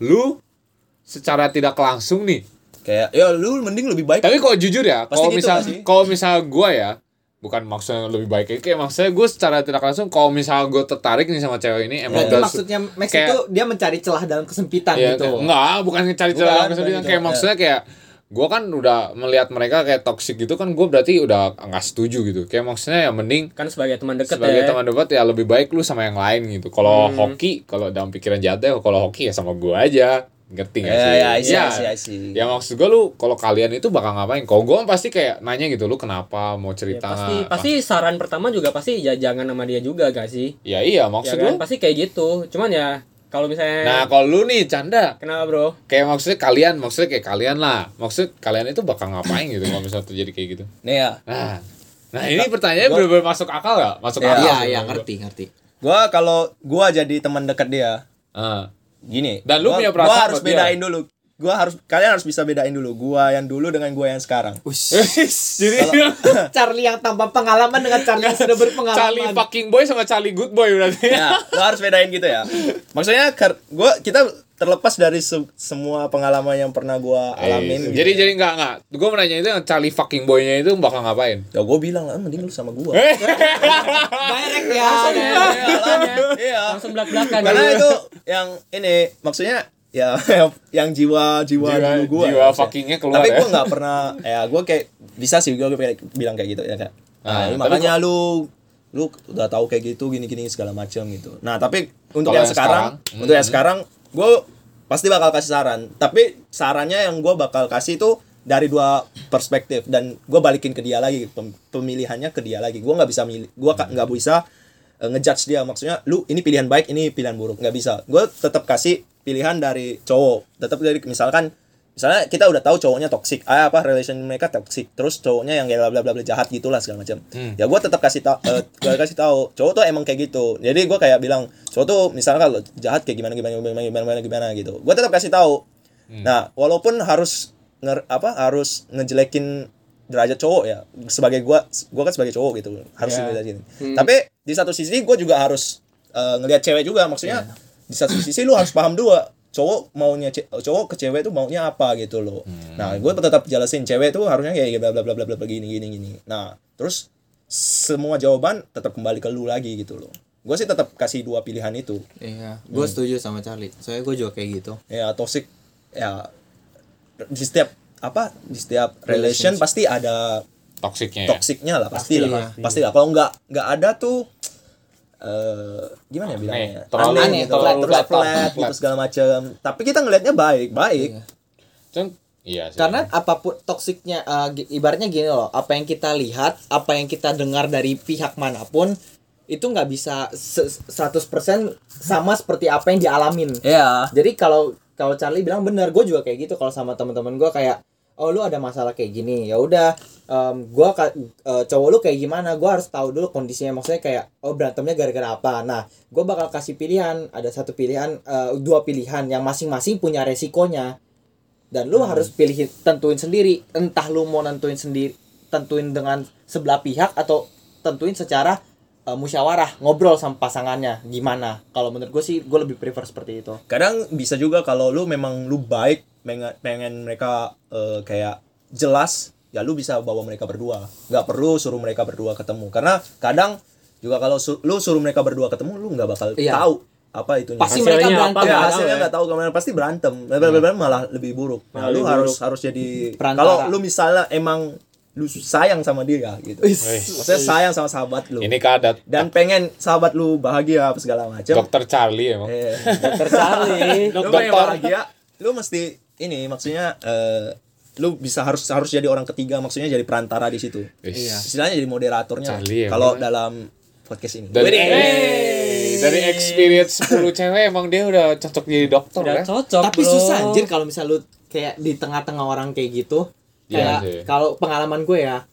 lu secara tidak langsung nih. Kayak ya lu mending lebih baik. Tapi kalau jujur ya, Pasti kalau gitu misal nggak sih? kalau misal gua ya, bukan maksudnya lebih baik kayak maksudnya gue secara tidak langsung kalau misal gue tertarik nih sama cewek ini emang udah itu su- maksudnya Max Ya, kayak- itu dia mencari celah dalam kesempitan ya, gitu kayak- enggak bukan cari Bukan, celah bukan kesempitan gitu. kayak Ya. maksudnya kayak gue kan udah melihat mereka kayak toxic gitu kan gue berarti udah nggak setuju gitu kayak maksudnya ya mending Kan sebagai teman dekat sebagai ya. teman debat ya lebih baik lu sama yang lain gitu. Kalau Hmm. hoki, kalau dalam pikiran jatuh, kalau hoki ya sama gua aja. Ngerti gak Ya, sih? ya, I see, Ya. I see, I see. Ya maksud gua lu kalau kalian itu bakal ngapain? Kalau gua kan pasti kayak nanya gitu, lu kenapa mau Ya, cerita? pasti nggak? pasti saran pertama juga pasti ya jangan sama dia juga gak sih? Ya iya Ya maksud kan? gua. Pasti kayak gitu. Cuman ya kalau Nah, misalnya kalau lu nih canda, kenapa, Bro? kayak maksudnya kalian, maksudnya kayak kalian lah. Maksud kalian itu bakal ngapain gitu kalau misalnya terjadi kayak gitu. Nih ya, Nah, nah ini pertanyaannya bener-bener masuk akal gak? Masuk Iya, akal. iya sih iya menurut ngerti ngerti gua kalau gua jadi teman dekat dia, gua. Ah. gini. Dan lu gua, punya perasaan gua harus buat dia. bedain dulu. Gua harus kalian harus bisa bedain dulu gua yang dulu dengan gua yang sekarang. Jadi Charlie yang tanpa pengalaman dengan Charlie yang sudah berpengalaman ya, Charlie fucking boy sama Charlie good boy berarti. Nah, lu harus bedain gitu ya. Maksudnya kar- gua kita terlepas dari se- semua pengalaman yang pernah gua alamin. gitu Eh, ya. Jadi jadi enggak enggak. Gue mau nanya itu yang Charlie fucking boy-nya itu bakal ngapain? ya gua bilang lah mending lu sama gua. Eh, direct ya Iya. Langsung belak-belakan. Karena ya. itu yang ini maksudnya ya yang jiwa jiwa, Jiwa- dulu gua jiwa maksudnya. fuckingnya keluar tapi ya. gua nggak pernah ya gua kayak bisa sih gua kayak bilang kayak gitu ya kayak nah, Ah, ini tapi makanya lu lu udah tahu kayak gitu gini-gini segala macam gitu. Nah, tapi untuk Kalau yang, yang sekarang, sekarang, untuk yang mm. sekarang gue pasti bakal kasih saran, tapi sarannya yang gue bakal kasih itu dari dua perspektif dan gue balikin ke dia lagi pem- pemilihannya ke dia lagi. Gue nggak bisa milih, gue nggak bisa eh, ngejudge dia maksudnya lu ini pilihan baik ini pilihan buruk nggak bisa gue tetap kasih pilihan dari cowok tetap dari misalkan misalnya kita udah tahu cowoknya toxic ah, apa relation mereka toxic terus cowoknya yang bla bla bla bla jahat gitulah segala macam ya gue tetap kasih tau gue kasih tahu cowok tuh emang kayak gitu jadi gue kayak bilang cowok tuh misalkan kalau jahat kayak gimana gimana gimana gimana gimana, gimana gitu gue tetap kasih tahu nah walaupun harus nger, apa harus ngejelekin derajat cowok ya sebagai gue gue kan sebagai cowok gitu harus Ya. ngejelekin gini. Tapi di satu sisi gue juga harus eh, ngelihat cewek juga maksudnya di satu sisi lu harus paham dua cowok maunya ce- cowok ke cewek tuh maunya apa gitu loh. Nah, gue tetap jelasin cewek tuh harusnya kayak bla bla bla bla bla bla gini gini gini. Nah, terus semua jawaban tetap kembali ke lu lagi gitu loh. Gue sih tetap kasih dua pilihan itu. Iya, gue setuju sama Charlie. Soalnya gue juga kayak gitu. Ya toxic ya di setiap apa di setiap relation pasti ada toksiknya ya. toksiknya lah pasti Pasti, lah pasti lah kalau nggak nggak ada tuh eh gimana ya bilangnya terlalu- Aneh aneh, terlalu terus flat, flat, gitu flat. segala macam tapi kita ngelihatnya baik baik Cuman, iya sih. Karena apapun toksiknya eh, gi- ibaratnya gini loh, apa yang kita lihat, apa yang kita dengar dari pihak manapun itu nggak bisa se- 100% sama seperti apa yang dialamin. ya Jadi kalau kalau Charlie bilang bener, gue juga kayak gitu kalau sama teman-teman gue kayak oh lu ada masalah kayak gini ya udah em, gua gue cowok lu kayak gimana gue harus tahu dulu kondisinya maksudnya kayak oh berantemnya gara-gara apa nah gue bakal kasih pilihan ada satu pilihan eh, dua pilihan yang masing-masing punya resikonya dan lu harus pilih tentuin sendiri entah lu mau nentuin sendiri tentuin dengan sebelah pihak atau tentuin secara eh, musyawarah ngobrol sama pasangannya gimana kalau menurut gue sih gue lebih prefer seperti itu kadang bisa juga kalau lu memang lu baik pengen, pengen mereka eh, kayak jelas ya lu bisa bawa mereka berdua nggak perlu suruh mereka berdua ketemu karena kadang juga kalau su- lu suruh mereka berdua ketemu lu nggak bakal Iya. tahu apa itunya pasti Hasilnya mereka apa berantem nggak ya, tahu hasilnya nggak tahu kemana pasti berantem berantem malah lebih buruk nah, Iya. Malah lu lebih harus buruk. harus jadi Perantara. kalau lu misalnya emang lu sayang sama dia gitu maksudnya sayang sama sahabat lu Ini kadat dan pengen sahabat lu bahagia apa segala macam dokter Charlie emang. eh, dokter Charlie lu Dokter. pengen bahagia lu mesti ini maksudnya eh, lu bisa harus harus jadi orang ketiga maksudnya jadi perantara di situ Wis. istilahnya jadi moderatornya Charlie ya, kalau bener. dalam podcast ini Dari, Wih, Eh, dari experience 10 cewek emang dia udah cocok jadi dokter Udah ya. cocok, tapi bro. susah anjir kalau misal lu kayak di tengah-tengah orang kayak gitu Iya kayak sih. kalau pengalaman gue ya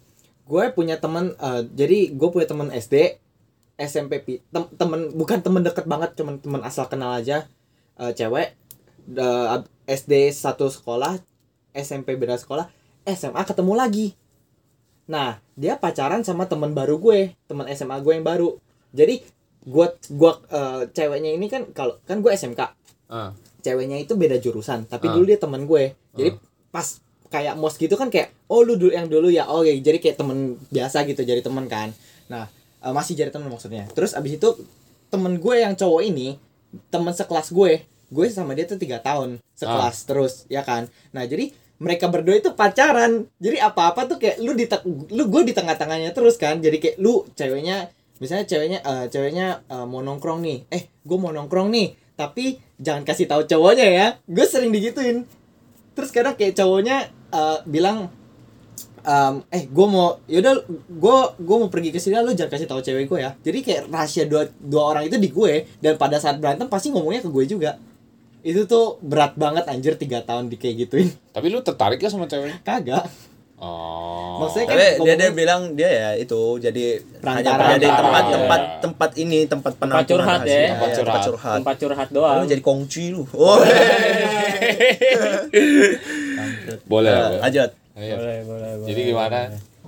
gue punya teman eh, jadi gue punya teman SD SMP pi- tem- temen bukan temen deket banget cuman temen asal kenal aja Eh, cewek Eh, ab- SD satu sekolah SMP beda sekolah SMA ketemu lagi nah dia pacaran sama temen baru gue temen SMA gue yang baru jadi gue gua eh, ceweknya ini kan kalau kan gue SMK Ah. ceweknya itu beda jurusan tapi Ah. dulu dia teman gue jadi pas kayak mos gitu kan kayak oh lu dulu yang dulu ya oh ya jadi kayak temen biasa gitu jadi temen kan nah eh, masih jadi temen maksudnya terus abis itu temen gue yang cowok ini temen sekelas gue gue sama dia tuh tiga tahun sekelas terus ya kan nah jadi mereka berdua itu pacaran jadi apa apa tuh kayak lu di te- lu gue di tengah-tengahnya terus kan jadi kayak lu ceweknya misalnya ceweknya eh, ceweknya eh, mau nongkrong nih eh gue mau nongkrong nih tapi jangan kasih tahu cowoknya ya gue sering digituin terus kadang kayak cowoknya eh, bilang em, eh gue mau yaudah gue gue mau pergi ke sini lu jangan kasih tahu cewek gue ya jadi kayak rahasia dua dua orang itu di gue dan pada saat berantem pasti ngomongnya ke gue juga itu tuh berat banget anjir tiga tahun di kayak gituin Tapi lu tertarik gak sama cewek? kagak Oh. maksudnya kan Tapi eh, dia, dia ngomongnya- bilang dia ya itu jadi hanya Perantara. jadi tempat Perantara. tempat tempat ini tempat penampungan curhat ya. rahasia. Tempat Iya. Ya, curhat. curhat. tempat curhat doang Lu jadi kongci lu. Oh. boleh. Nah, boleh. lanjut. Ayo. boleh boleh Ah, boleh Jadi gimana?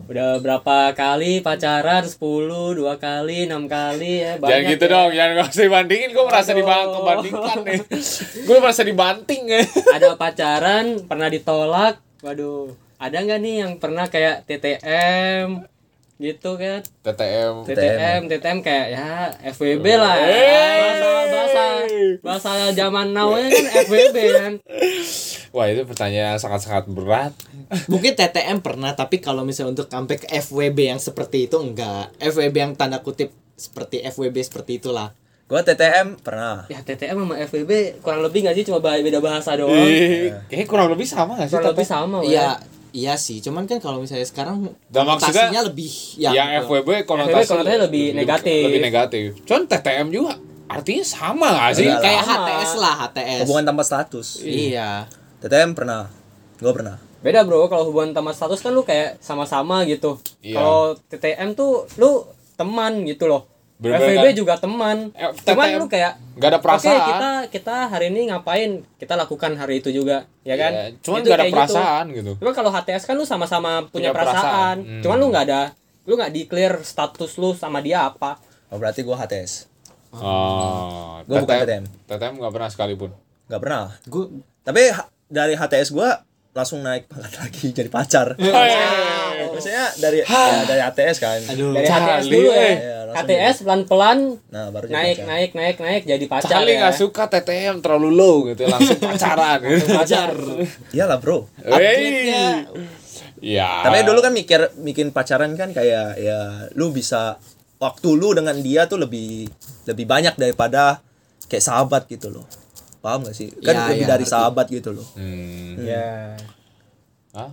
udah berapa kali pacaran 10 dua kali enam kali ya jangan banyak gitu ya. dong, jangan gak usah dibandingin. Gue merasa dibang Aduh. kebandingkan nih. Gue merasa dibanting ya. ada pacaran pernah ditolak waduh ada nggak nih yang pernah kayak TTM gitu kan TTM. TTM TTM kayak ya FWB lah ya. bahasa bahasa bahasa zaman now nya kan FWB kan Wah itu pertanyaan yang sangat-sangat berat. Mungkin TTM pernah, tapi kalau misalnya untuk sampai ke FWB yang seperti itu enggak. FWB yang tanda kutip seperti FWB seperti itulah Gua TTM pernah. ya TTM sama FWB kurang lebih nggak sih cuma bah- beda bahasa doang Iya. Kayaknya kurang lebih sama gak sih? kurang lebih tapi sama ya. lah iya iya sih cuman kan kalau misalnya sekarang Dan maksudnya- konotasinya lebih ya, gitu. yang, FWB konotasi konotasinya lebih negatif. lebih negatif cuman TTM juga artinya sama gak sih Enggak lah. kayak Sama. HTS lah HTS Hubungan tanpa status. iya TTM pernah. Gua pernah. beda bro kalau hubungan sama status kan lu kayak sama-sama gitu Iya. kalau TTM tuh lu teman gitu loh Bener-bener FWB kan? juga teman Eh, cuman TTM lu kayak nggak ada perasaan. oke kita kita hari ini ngapain kita lakukan hari itu juga ya kan Iya, cuman Itu gak ada kayak gitu. perasaan gitu, Cuma kalau HTS kan lu sama-sama punya, Punya perasaan. perasaan. Hmm. Cuman lu nggak ada lu nggak declare status lu sama dia apa. Oh, berarti gua HTS. Ah. Oh, Gua bukan TTM. TTM gak pernah sekalipun Gak pernah. gue Tapi ha- dari HTS gua langsung naik pangkat lagi jadi pacar. Oh. Nah, Biasanya dari ya, dari HTS kan. Dari Charlie, HTS dulu ya. eh. Iya, langsung HTS pelan-pelan Nah, baru jadi naik, pacar. naik naik naik jadi pacar. Charlie ya. nggak suka TTM terlalu low gitu langsung pacaran gitu. Pacar. Iyalah, Bro. Wey. Ya. Tapi Ah. dulu kan mikir bikin pacaran kan kayak ya lu bisa waktu lu dengan dia tuh lebih lebih banyak daripada kayak sahabat gitu loh. Paham gak sih? Kan Ya, lebih ya, dari sahabat gitu loh. Hmm. Ya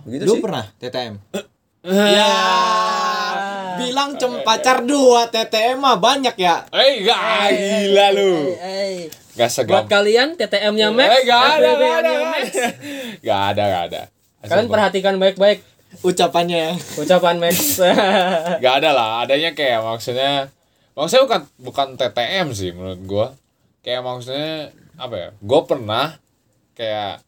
Begitu Iya. lu sih. pernah TTM ya Ah. bilang cem pacar dua TTM mah banyak ya Eh, gak gila lu. Eh, Gak Buat segap. kalian TTM-nya Max, Eh, gak ada, FBB gak ada. -nya Max. Gak ada, gak ada. Kalian perhatikan baik-baik ucapannya ya. ucapan Max. Gak ada lah, adanya kayak maksudnya maksudnya bukan bukan TTM sih menurut gua. Kayak maksudnya apa ya? Gua pernah kayak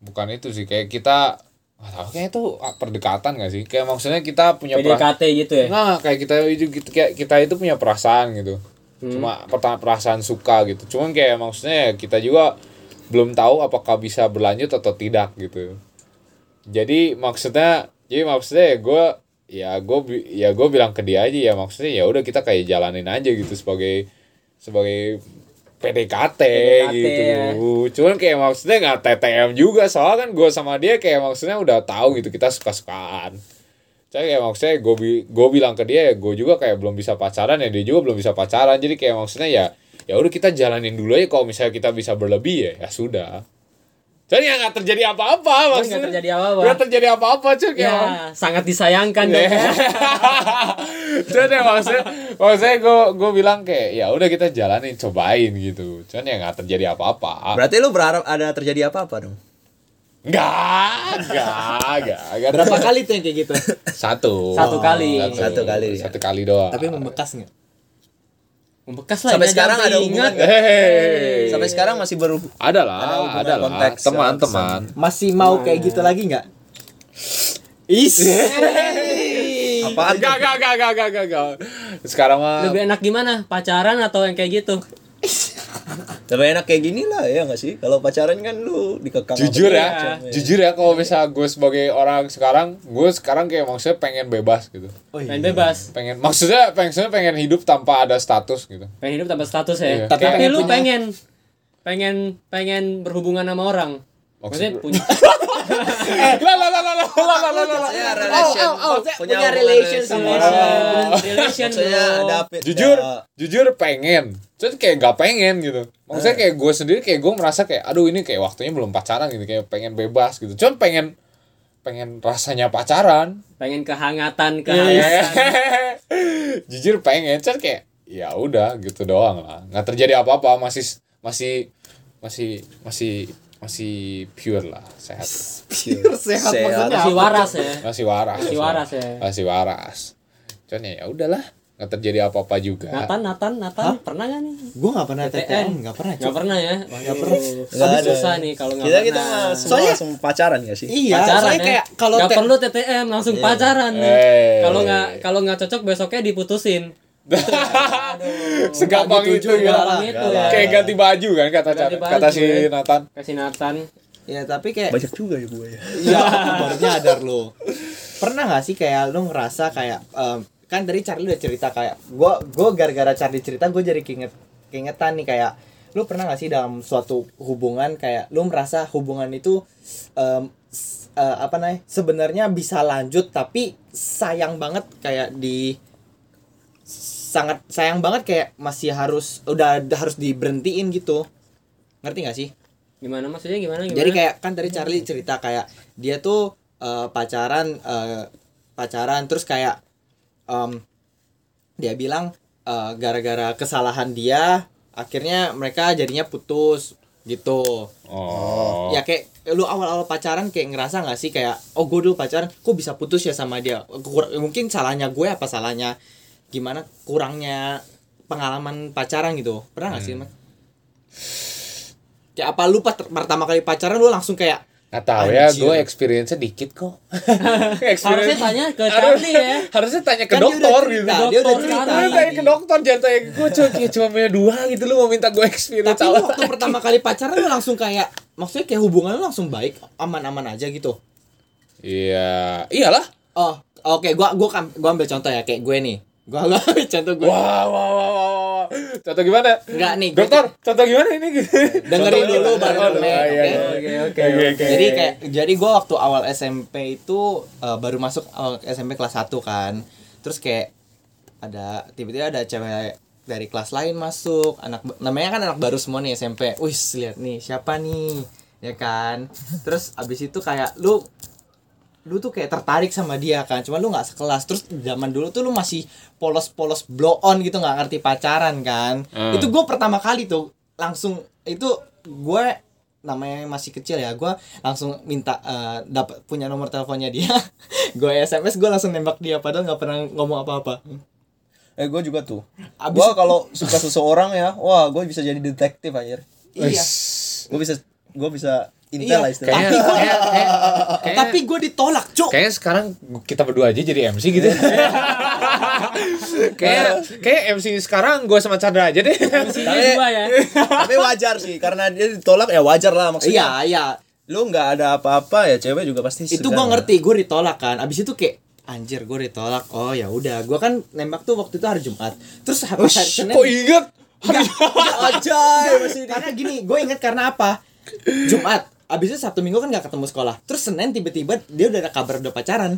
bukan itu sih, kayak kita nggak tahu kayak itu ah, perdekatan gak sih? Kayak maksudnya kita punya perasaan PDKT gitu ya. Nah, kayak kita itu gitu, kayak kita itu punya perasaan gitu. Cuma perta- perasaan suka gitu. Cuman kayak maksudnya ya kita juga belum tahu apakah bisa berlanjut atau tidak gitu. Jadi maksudnya, jadi maksudnya ya gue ya gue ya gue bilang ke dia aja ya maksudnya ya udah kita kayak jalanin aja gitu sebagai sebagai PDKT, gitu. ya. Cuman kayak maksudnya nggak TTM juga soalnya kan gue sama dia kayak maksudnya udah tahu gitu kita suka-sukaan. Saya kayak maksudnya gue bilang ke dia ya gue juga kayak belum bisa pacaran ya dia juga belum bisa pacaran jadi kayak maksudnya ya ya udah kita jalanin dulu aja kalau misalnya kita bisa berlebih ya ya sudah. Jadi ya nggak terjadi apa-apa maksudnya. nggak terjadi apa-apa. Nggak terjadi apa-apa cuy kayak Ya, maksudnya- sangat disayangkan Iya. ya. dong. Cuman ya maksudnya maksudnya gue gue bilang kayak ya udah kita jalanin cobain gitu. Cuman ya nggak terjadi apa-apa. Berarti lu berharap ada terjadi apa-apa dong? Enggak, enggak, enggak, enggak. berapa kali tuh yang kayak gitu Satu. Satu kali. Satu kali, ya. Satu kali doang. tapi membekas nggak Membekas lah Nah, Sampai ini aja sekarang ada ingat. hubungan nggak? Hehehe. Sampai sekarang masih baru Ada lah, Ada hubungan ada lah. konteks, ya. Teman-teman. masih mau kayak gitu lagi nggak Is. Apaan? Enggak, enggak, enggak, enggak, enggak, enggak, enggak. Sekarang mah Lebih enak gimana? Pacaran atau yang kayak gitu? Lebih enak kayak gini lah ya gak sih? Kalau pacaran kan lu dikekang. apa jujur ya, macam, jujur ya kalau bisa gue sebagai orang sekarang, gue sekarang kayak maksudnya pengen bebas gitu. Oh, iya. Main bebas. Pengen maksudnya pengen maksudnya pengen hidup tanpa ada status gitu. Pengen hidup tanpa status ya. Iya. Tapi, Tapi lu punya- pengen pengen pengen berhubungan sama orang. Maksudnya Maksud- punya La la la la la la la la la. Saya relation. Oh, punya relation sama orang. relation, relation Saya bro. ada apa- Jujur, ada- jujur pengen. Cuman kayak gak pengen gitu. Maksudnya Eh. kayak gue sendiri kayak gue merasa kayak aduh ini kayak waktunya belum pacaran gitu, kayak pengen bebas gitu. Cuman pengen pengen rasanya pacaran. Pengen kehangatan Iya. kehangatan. jujur pengen cuman kayak ya udah gitu doang lah. Nggak terjadi apa-apa, masih masih masih masih masih pure lah, sehat. lah. sehat Sehat. maksudnya Masih waras ya. Masih waras. Masih waras ya. Masih waras. Cuman ya ya udahlah, nggak terjadi apa-apa juga. Nathan, Nathan, Nathan, pernah gak nih? gue nggak pernah TTM nggak pernah Gak cuy. pernah ya? Gak pernah. Nggak ada. susah nih kalau gak Kita pernah. kita mah semua Nah, Soalnya- langsung pacaran gak sih? iya pacaran soalnya ya. kayak kalau nggak te- perlu TTM langsung Iya. pacaran nih. Eh. Kalau nggak kalau nggak cocok besoknya diputusin. Segampang Nggak gitu itu juga ya. lah. Orang itu ya. Kayak ganti baju kan kata Ganti Chan- kata baju, si ya. Nathan. Kasih Nathan. ya tapi kayak Banyak juga ya gue ya. Iya, baru nyadar lo. Pernah gak sih kayak lu ngerasa kayak em, kan dari Charlie udah cerita kayak gua gua gara-gara Charlie cerita gue jadi keinget keingetan nih kayak lu pernah gak sih dalam suatu hubungan kayak lu merasa hubungan itu em, s- eh, apa namanya sebenarnya bisa lanjut tapi sayang banget kayak di sangat sayang banget kayak masih harus udah udah harus diberhentiin gitu ngerti gak sih Gimana maksudnya gimana gimana? jadi kayak kan tadi Charlie cerita kayak dia tuh eh, pacaran eh, pacaran terus kayak em, dia bilang eh, gara-gara kesalahan dia akhirnya mereka jadinya putus gitu Oh. ya kayak lu awal-awal pacaran kayak ngerasa nggak sih kayak oh gue dulu pacaran kok bisa putus ya sama dia Kur- mungkin salahnya gue apa salahnya gimana kurangnya pengalaman pacaran gitu pernah nggak sih Hmm. mas kayak apa lu pas- pertama kali pacaran lu langsung kayak Nggak tahu ya, Anjir. gue experience-nya dikit kok. harusnya Experience- tanya ke Harus- Charlie ya. Harusnya tanya ke Kan dia udah dokter cerita, gitu. dia udah Dokter. cerita Lu tanya tadi. ke dokter jangan tanya ke gue cuma ya, cuma punya dua gitu lu mau minta gue experience tapi lu awal. waktu pertama kali pacaran lu langsung kayak maksudnya kayak hubungan lu langsung baik aman-aman aja gitu Iya, iyalah. oh oke gua gua kam- gua ambil contoh ya kayak gue nih gua gua ambil contoh gue Wah, wah, wah, wah, wah. Contoh gimana? Enggak nih, gua- Dokter, contoh gimana ini? Dengerin dulu, baru Oh, komen, iya, iya. Oke, oke. Oke, oke. Jadi kayak jadi gua waktu awal SMP itu eh, baru masuk awal SMP kelas 1 kan. Terus kayak ada tiba-tiba ada cewek dari kelas lain masuk, anak ba- namanya kan anak baru semua nih SMP. Wih, lihat nih siapa nih? Ya kan. Terus abis itu kayak lu lu tuh kayak tertarik sama dia kan cuma lu nggak sekelas terus zaman dulu tuh lu masih polos-polos blow on gitu nggak ngerti pacaran kan Hmm. itu gue pertama kali tuh langsung itu gue namanya masih kecil ya gue langsung minta eh, dapat punya nomor teleponnya dia gue sms gue langsung nembak dia padahal nggak pernah ngomong apa-apa Eh gue juga tuh. Abis- Gue kalau suka seseorang ya, wah gue bisa jadi detektif aja. iya Gue bisa gue bisa iya intel lah istilahnya. tapi Kayaknya- gue kayak- kayak- kayak- tapi gue ditolak cuk Kayaknya sekarang kita berdua aja jadi MC gitu. kayak kayak MC sekarang gue sama Chandra aja deh. Ini dua ya. Tapi wajar sih karena dia ditolak ya wajar lah maksudnya. iya iya Lu nggak ada apa-apa ya cewek juga pasti itu sedang gue lah. ngerti gue ditolak kan abis itu kayak anjir gue ditolak oh ya udah gue kan nembak tuh waktu itu hari jumat terus habis hari senin Kok iya? inget? aja karena gini gue inget karena apa jumat abis itu sabtu minggu kan gak ketemu sekolah terus senin tiba-tiba dia udah ada kabar udah pacaran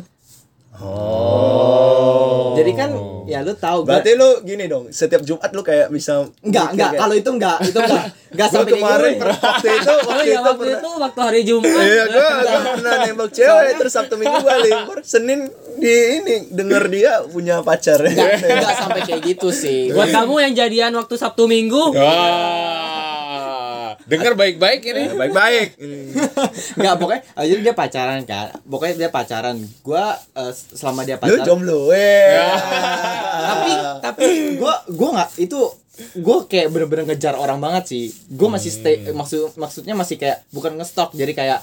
oh jadi kan ya lu tahu gua- Berarti lu gini dong, setiap Jumat lu kayak bisa Enggak, mikir enggak. kayak, Kalau itu enggak, itu enggak. Enggak "Gua sampai kayak kemarin gitu. pernah- waktu itu Oh waktu iya itu waktu pernah itu waktu hari Jumat. Iya, gua gua pernah nembak cewek terus Sabtu Minggu gua libur, Senin di ini denger dia punya pacar. Enggak, enggak sampai kayak gitu sih. Buat kamu yang jadian waktu Sabtu Minggu, Iya. Wah, dengar baik-baik ini. Baik-baik. Enggak, pokoknya ah, jadi dia pacaran kan. Pokoknya dia pacaran. Gua eh, selama dia Lu pacaran. jomblo. eh. Weh. tapi tapi gue gue nggak itu gue kayak bener-bener ngejar orang banget sih gue masih stay maksud maksudnya masih kayak bukan ngestok jadi kayak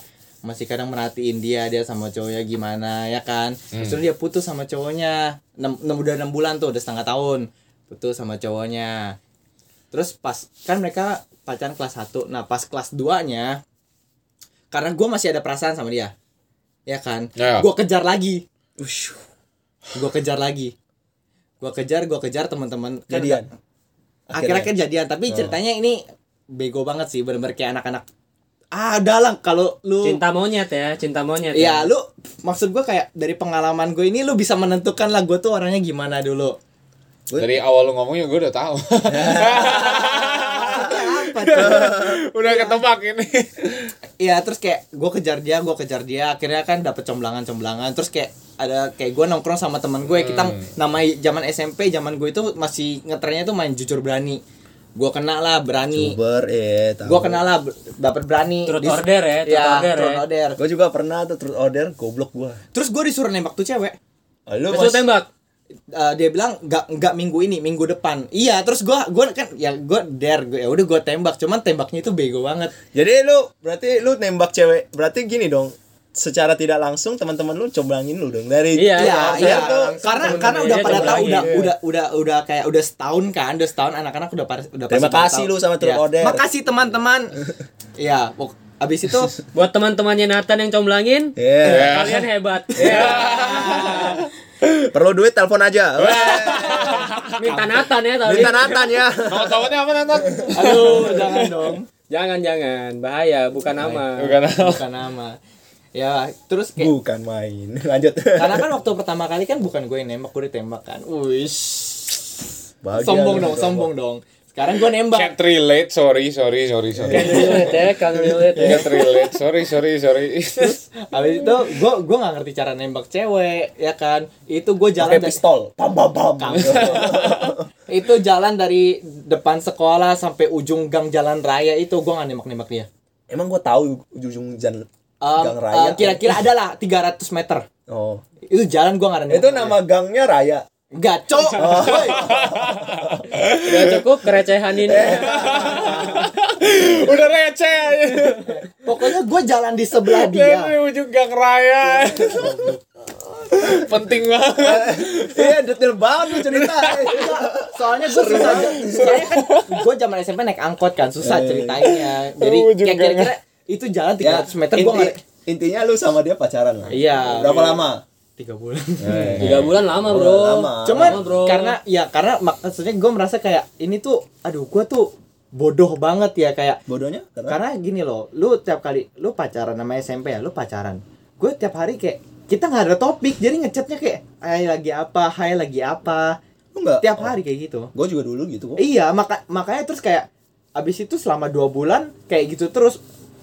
masih kadang merhatiin dia dia sama cowoknya gimana ya kan terus dia putus sama cowoknya enam enam- udah enam bulan tuh udah setengah tahun putus sama cowoknya terus pas kan mereka pacaran kelas 1 nah pas kelas 2 nya karena gue masih ada perasaan sama dia ya kan Ya. gue kejar lagi gue kejar lagi gue kejar gue kejar teman-teman Kan Jadian. akhirnya kan jadian tapi ceritanya ini bego banget sih bener-bener kayak anak-anak ah udah lah kalau lu cinta monyet ya, cinta monyet. ya lu maksud gue kayak dari pengalaman gue ini lu bisa menentukan lah gue tuh orangnya gimana dulu Dari awal lu ngomongnya gue udah tahu. apa tuh? udah ketebak ini. Iya terus kayak gue kejar dia, gue kejar dia, akhirnya kan dapet comblangan-comblangan, terus kayak ada kayak gue nongkrong sama teman gue, kita namanya zaman SMP, zaman gue itu masih ngetrennya tuh main jujur berani, gue kena lah berani, Uber eh tahu. gue kena lah ber- dapet berani, Truth Dis- order ya, truth Iya, order truth ya. order. Gua juga pernah tuh terus order goblok gua. terus gue disuruh nembak tuh cewek, Oh, Lu Terus lu mas- tembak. Eh, dia bilang nggak nggak minggu ini, minggu depan, iya terus gue gua kan ya gue dare, gue ya udah gue tembak, cuman tembaknya itu bego banget, Jadi lu berarti lu nembak cewek. Berarti gini dong. Secara tidak langsung teman-teman lu coblangin lu dong dari Iya, Iya, iya. iya. Karena karena udah Iya, pada coba tahu lagi. udah udah udah udah kayak udah setahun kan, udah setahun anak-anak udah pada udah Terima pasti pada kasih tahu. lu sama True Iya. Order. Makasih teman-teman. Iya, pok- abis itu Buat teman-temannya Nathan yang comblangin, Iya. Ya. kalian hebat. Perlu duit telepon aja. Minta Nathan ya tapi. Minta Nathan ya. Nomor teleponnya apa Natan? aduh jangan dong. Jangan jangan, bahaya, bukan nama. Bukan. Bukan nama. Ya, terus kayak Bukan main. Lanjut. karena kan waktu pertama kali kan bukan gue yang nembak, gue ditembak kan. Wih. Bahagia sombong gitu, dong, sombong dong. Sekarang gue nembak. Can't relate, sorry, sorry, sorry, sorry. relate ya, kan relate ya. Can't relate, sorry, sorry, sorry. Habis itu gue gue nggak ngerti cara nembak cewek, ya kan? Itu gue jalan Pakai dari pistol. Pam pam pam. itu jalan dari depan sekolah sampai ujung gang jalan raya itu gue nggak nembak nembak dia. Emang gua tahu ujung-ujung jalan Um, gang raya. uh, kira-kira adalah 300 meter. Oh. Itu jalan gue nggak ada nembak Itu dia. nama Oh. gangnya Raya. Gaco. Udah cukup kerecehan ini. Udah receh aja. Pokoknya gue jalan di sebelah dia. Dari ujung gang raya. Penting banget. Iya, detail banget tuh cerita. soalnya gue susah soalnya kan gue zaman SMP naik angkot kan susah ceritainnya jadi Kamu juga kayak kira-kira itu jalan 300 meter gue Ya, inti- nggak intinya lu sama dia pacaran lah. Iya. Berapa lama? tiga bulan Tiga bulan lama bro. Lama. cuman Lama, Nah, bro. karena ya karena maksudnya gue merasa kayak ini tuh aduh gue tuh bodoh banget ya kayak bodohnya? Karena karena gini loh lu tiap kali lu pacaran sama SMP ya lu pacaran gue tiap hari kayak kita nggak ada topik jadi ngechatnya kayak hai lagi apa hai lagi apa lu enggak. tiap hari kayak gitu Gua juga dulu gitu kok. Iya, maka makanya terus kayak abis itu selama dua bulan kayak gitu terus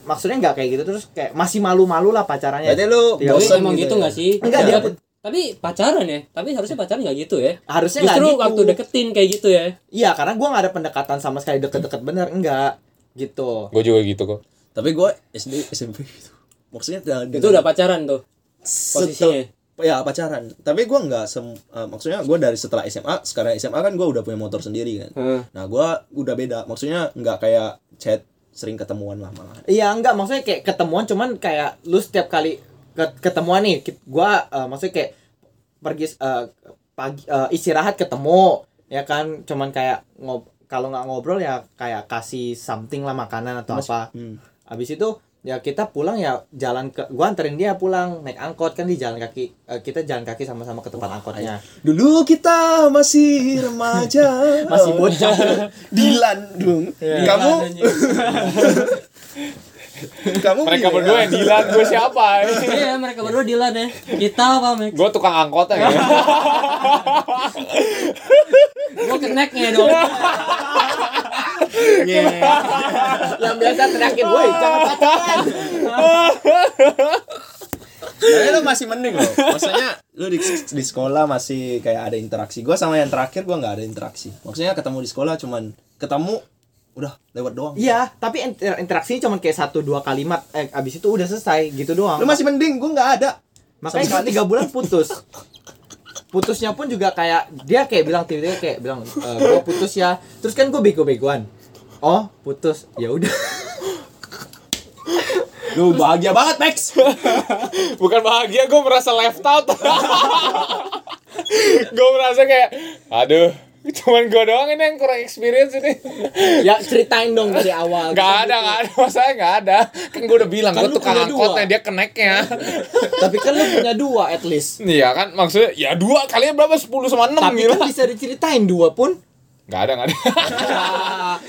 maksudnya nggak kayak gitu terus kayak masih malu-malu lah pacarannya. Berarti lu Iya, Tapi bosen emang gitu ya? nggak sih? Enggak, dia- Tapi- Tapi pacaran ya. Tapi harusnya pacaran nggak gitu ya. harusnya nggak Justru gitu. waktu deketin kayak gitu ya. Iya, karena gua nggak ada pendekatan sama sekali deket-deket bener enggak gitu. Gue juga gitu kok. Tapi gua SD SMP gitu. Maksudnya dengan- Itu udah pacaran tuh. posisinya. setel- ya pacaran tapi gua nggak sem eh, maksudnya gua dari setelah SMA sekarang SMA kan gua udah punya motor sendiri kan Heeh. nah gua udah beda maksudnya nggak kayak chat sering ketemuan lah malah Iya, enggak maksudnya kayak ketemuan cuman kayak lu setiap kali ke- ketemuan nih ki- gua eh, maksudnya kayak pergi eh, pagi eh, istirahat ketemu ya kan cuman kayak ngob kalau nggak ngobrol ya kayak kasih something lah makanan atau apa. hmm. Habis itu ya kita pulang ya jalan ke gua anterin dia pulang naik angkot kan di jalan kaki eh, kita jalan kaki sama-sama ke tempat iya. angkotnya. dulu kita masih remaja Masih bocah. Dilan dong kamu iya. kamu Mereka gimana? berdua yang dilan gue siapa? Iya, mereka berdua dilan ya. Kita apa, Mek? Gue tukang angkot ya. aja. Gua keneknya dong. Yang biasa teriakin, "Woi, jangan pacaran." Tapi lu masih mending loh. Maksudnya lu di, di sekolah masih kayak ada interaksi. Gua sama yang terakhir gua nggak ada interaksi. Maksudnya ketemu di sekolah cuman ketemu udah lewat doang. Iya, tapi inter- interaksinya cuman kayak satu dua kalimat eh abis itu udah selesai gitu doang. Lu masih mending, gua nggak ada. Makanya gua tiga bulan putus. Putusnya pun juga kayak dia kayak bilang tiba-tiba kayak bilang e, gua putus ya. Terus kan gue bego-begoan. Oh, putus. Ya udah. Lu bahagia banget, Max. Bukan bahagia, gue merasa left out. gue merasa kayak, aduh, cuman gue doang ini yang kurang experience ini. ya ceritain dong dari awal. Gak ada, gak ada, masalahnya gak ada. Kan gue udah bilang, gue lu tukang punya dua. angkotnya, dia keneknya. Tapi kan lu punya dua at least. Iya kan, maksudnya, ya dua kalinya berapa? 10 sama 6 gitu? Tapi gila. kan bisa diceritain dua pun. Gak ada, gak ada.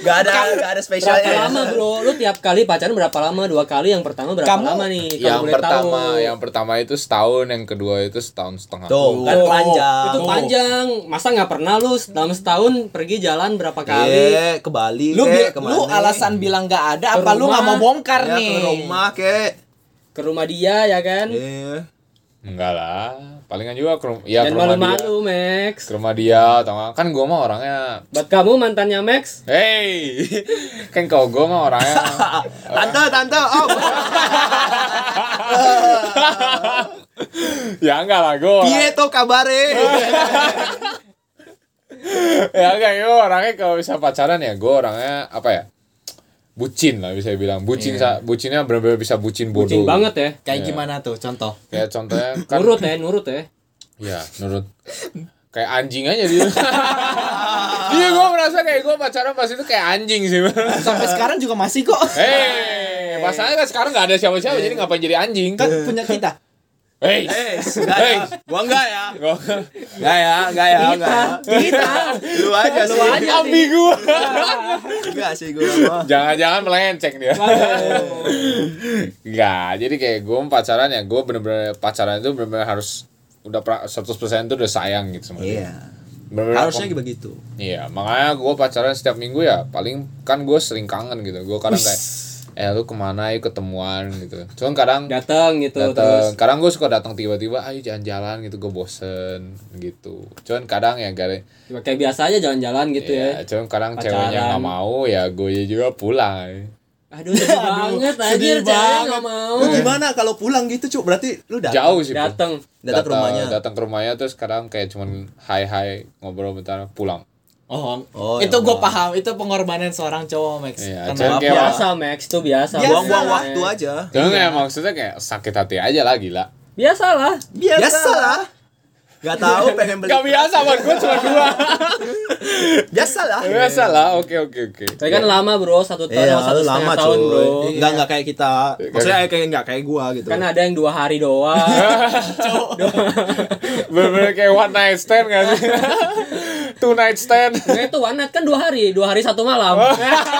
Gak ada, gak ada ya. Berapa spesialnya. lama, Bro? Lu tiap kali pacaran berapa lama? Dua kali yang pertama berapa Kamu- lama nih? Kalau yang kan boleh pertama, tahu. yang pertama itu setahun, yang kedua itu setahun setengah. Tuh, kan Oh. Tuh, panjang. Itu panjang. Masa nggak pernah lu dalam setahun pergi jalan berapa Iya. kali? Eh, ke Bali, Lu kek, bi- kemana. lu alasan bilang gak ada apa lu rumah. gak mau bongkar Ya, nih? ke rumah, kek. Ke rumah dia ya kan? Iya, Eh, Enggak lah, palingan juga ke rum- ya, Dan ke rumah dia. malu-malu, Ke Max. rumah dia, tau nggak? Kan gue mah orangnya Buat kamu mantannya Max, Hey, kan kalau gue mah orangnya Tante, tante, oh, ya enggak lah gue piye Iya, tuh kabare? ya enggak gue orangnya kalau bisa pacaran ya gue orangnya apa ya bucin lah bisa bilang bucin sa- bucinnya benar-benar bisa bucin bodoh Iya. bucin banget ya. Kayak gimana tuh contoh? kayak contohnya kan Nurut ya, nurut ya. ya nurut kayak anjing aja dia dia gue merasa kayak gue pacaran pas itu kayak anjing sih Eh. Sampai sekarang juga masih kok. Hei, masalahnya kan sekarang nggak ada siapa-siapa Iya. jadi ngapain jadi anjing? Kan punya kita. Hei, Eh, enggak ya. Gua enggak ya. Gua- Enggak ya, enggak ya, enggak ya. Kita. Lu aja sih. ambigu. Enggak sih gua mah. Jangan-jangan melenceng dia. Enggak, jadi kayak gue pacaran ya, Iya. gue bener-bener pacaran itu bener-bener harus udah pra- 100% itu udah sayang gitu sama dia. Bener-bener harusnya kom- begitu Gitu. Iya, makanya gue pacaran setiap minggu ya. Paling kan gue sering kangen gitu. Gue kadang kayak, eh lu kemana? Yuk ketemuan gitu. Cuman kadang datang gitu terus datang. Kadang gue suka datang tiba-tiba, ayo jalan-jalan gitu. Gue bosen gitu. Cuman kadang ya gare. kayak biasa aja jalan-jalan gitu ya. Iya, cuman kadang Pacaran. ceweknya nggak mau ya gue juga pulang. Aduh sedih banget anjir cewek nggak mau. lu gimana kalau pulang gitu cuk berarti lu udah Jauh sih. Bro. Datang. datang ke rumahnya Datang ke rumahnya terus kadang kayak cuman hai hai ngobrol bentar pulang. Oh, Oh, itu yang gue maaf. paham. Itu pengorbanan seorang cowok, Max. Iya, Karena- cuman kayak Biasa Iya. Max tuh biasa. buang-buang Ya. waktu aja Cuman kayak maksudnya kayak sakit hati aja lah gila. Biasalah. biasa, lah Gak tahu pengen beli Gak biasa buat gue cuma dua. biasa lah Biasa lah, oke oke oke. Tapi kan lama bro, satu tahun Iya, sama satu lama setengah cuy. Iya. tahun bro. Iya. Enggak enggak kayak kita. Maksudnya kayak enggak kayak gua gitu. Kan ada yang dua hari doang. Bener-bener kayak one night stand gak sih? Two night stand. Nah itu one night kan dua hari, dua hari satu malam.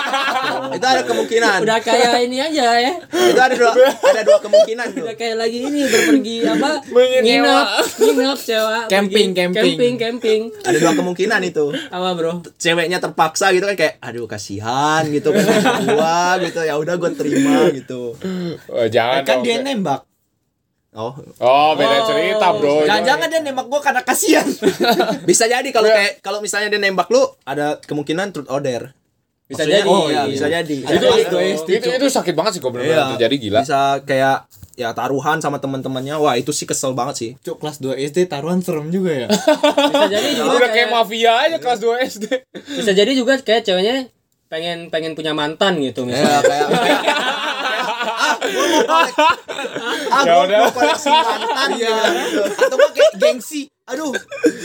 itu ada kemungkinan. Udah kayak ini aja ya. Itu ada dua ada dua kemungkinan tuh. Udah kayak lagi ini berpergi apa? Menyewa. Nginep, nginep cewa. Camping, pergi- camping. camping, camping. Ada dua kemungkinan itu. Apa bro? Ceweknya terpaksa gitu kan kayak aduh kasihan gitu pengen gua gitu ya udah gua terima gitu. Oh, jangan Kan dong. dia nembak. Oh, Oh, beda cerita, Bro. Iya. Jangan-jangan dia nembak gue karena kasihan. bisa jadi Iya. kalau kayak kalau misalnya dia nembak lu ada kemungkinan truth order. Bisa Maksudnya- jadi. Oh, iya, bisa jadi. Itu iya. Bisa- itu itu, itu, itu sakit banget sih kok bener-bener Iya. terjadi Gitu. gila. Bisa kayak ya taruhan sama teman-temannya. Wah, itu sih kesel banget sih. Cuk, kelas 2 SD taruhan serem juga ya. bisa jadi juga Udah kayak kayak- mafia aja kelas 2 SD. bisa jadi juga kayak ceweknya pengen pengen punya mantan gitu Ya misalnya. kayak ah, gua mau kolek- ah, Ya gua udah. mau koleksi mantan Gitu ya. kan. Atau gua kayak gengsi. Aduh,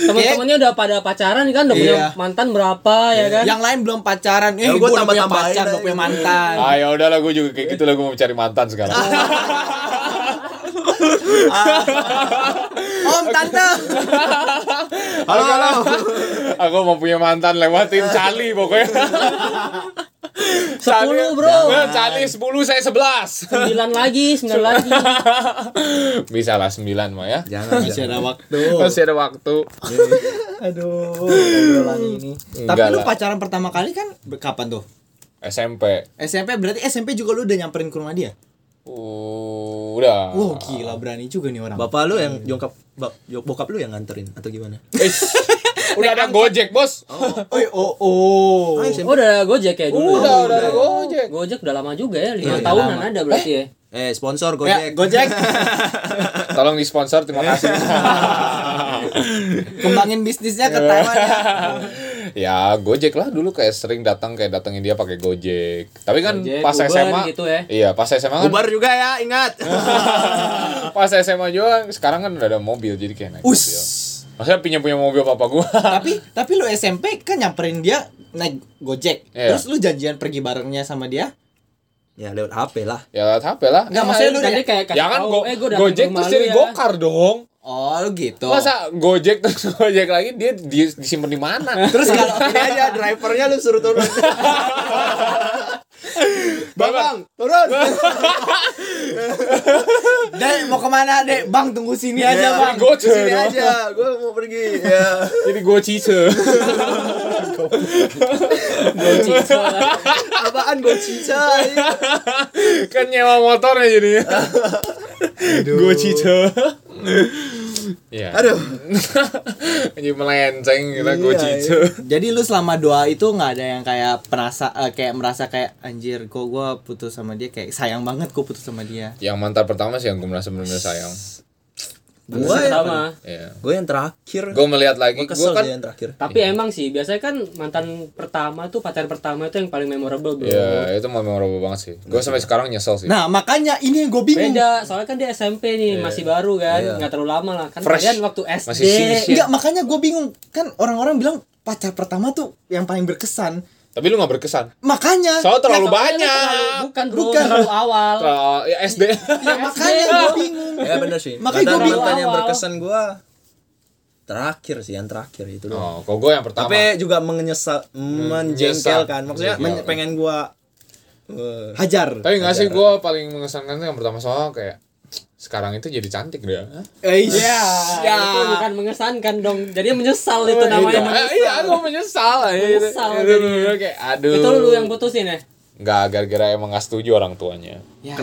Teman-temannya udah pada pacaran kan udah punya Iya. mantan berapa ya kan? Yang lain belum pacaran. Eh, Ya, gue gua udah punya tambah-tambahin pacar, aja. Iya. udah punya mantan. Ah, ya udahlah gue juga kayak gitu lah gue mau cari mantan sekarang. Om tante. Halo, halo. Aku mau punya mantan lewatin Cali pokoknya. Sepuluh bro, Nah, Cali 10 saya 11. sembilan lagi, sembilan lagi. Bisa lah 9 mah ya. Jangan. Masih ada waktu. Masih ada waktu. Aduh, obrolan ini. Tapi Enggak lu lah. pacaran pertama kali kan be- kapan tuh? SMP. SMP berarti SMP juga lu udah nyamperin ke rumah dia. Udah. Wow, gila berani juga nih orang. Bapak lu yang jongkap bap- jok- bokap lu yang nganterin atau gimana? Udah ada Gojek, Bos. Oi, oh, oh. Ah, SMP. Oh, udah Gojek ya dulu. Udah, ya? udah ada Gojek. Gojek udah lama juga ya, lima Iya, tahunan ada berarti ya. Eh, sponsor Ya, Gojek. Gojek. Tolong di sponsor, terima kasih. Kembangin bisnisnya Iya. ke Taiwan ya. ya Gojek lah dulu kayak sering datang kayak datengin dia pakai Gojek. Tapi kan Gojek, pas Uber SMA gitu ya. Iya, pas SMA kan. Uber juga ya, ingat. pas SMA juga sekarang kan udah ada mobil jadi kayak naik Us. mobil. Maksudnya pinjam punya mobil papa gua. tapi tapi lu SMP kan nyamperin dia naik Gojek. Iya. Terus lu janjian pergi barengnya sama dia? ya lewat HP lah. ya lewat HP lah. Enggak maksudnya lu Tadi kayak kasih Jangan tahu, Ya kan, go eh, gua datang Gojek ke terus rumah jadi lu ya. gokar dong. Oh, lu gitu. Masa Gojek terus Gojek lagi dia di- disimpan di mana? Terus kalau ini Iya, aja drivernya lu suruh turun. bang, bang, turun. Dan mau kemana, Dek? Bang, tunggu sini aja, Bang. Gojek Sini Iya, dong. aja, gue mau pergi. Ya. Jadi Gojice. Apaan gue cincai? kan nyewa motornya jadinya gue cica ya Aduh. jadi melenceng kita gue Iya, cica Jadi lu selama doa itu nggak ada yang kayak perasa eh, kayak merasa kayak anjir kok gua putus sama dia kayak sayang banget gua putus sama dia. iya. yang mantan pertama sih yang gue merasa benar-benar sayang Gue yang, Pertama. ya gue yang terakhir. gue melihat lagi Gue gue kesel kan sih yang terakhir. Tapi emang sih, biasanya kan mantan pertama tuh pacar pertama itu yang paling memorable bro. ya itu memorable banget sih gue sampai sekarang nyesel sih Nah, makanya ini yang gua bingung. Beda, soalnya kan dia SMP nih, masih baru kan, Iya. nggak terlalu lama lah. Kan Fresh. kalian waktu SD. Masih single. Enggak, Iya, makanya gua bingung. Kan orang-orang bilang pacar pertama tuh yang paling berkesan. tapi lu nggak berkesan Makanya soalnya Soalnya terlalu lu banyak terlalu- bukan bro, Bukan. terlalu awal. Terlalu- ya SD ya, makanya SD. gua bingung. Ya bener sih. Makanya gua Mantan- bingung. mantan yang Awal. berkesan gue terakhir sih, yang terakhir itu doang. oh kok gue yang pertama Tapi juga menyesal, menjengkelkan. Maksudnya Iya. men- pengen gue. eh, Hajar. Tapi nggak sih gue paling mengesankan tuh yang pertama soal kayak sekarang itu jadi cantik dia Ya, itu bukan mengesankan dong. Jadi menyesal Oh, itu namanya. Eh, iya aku menyesal ya gitu. Menyesal Itu jadinya. bener-bener kayak Iya. aduh Itu lu yang putusin ya? nggak gara-gara emang nggak setuju orang tuanya Ya.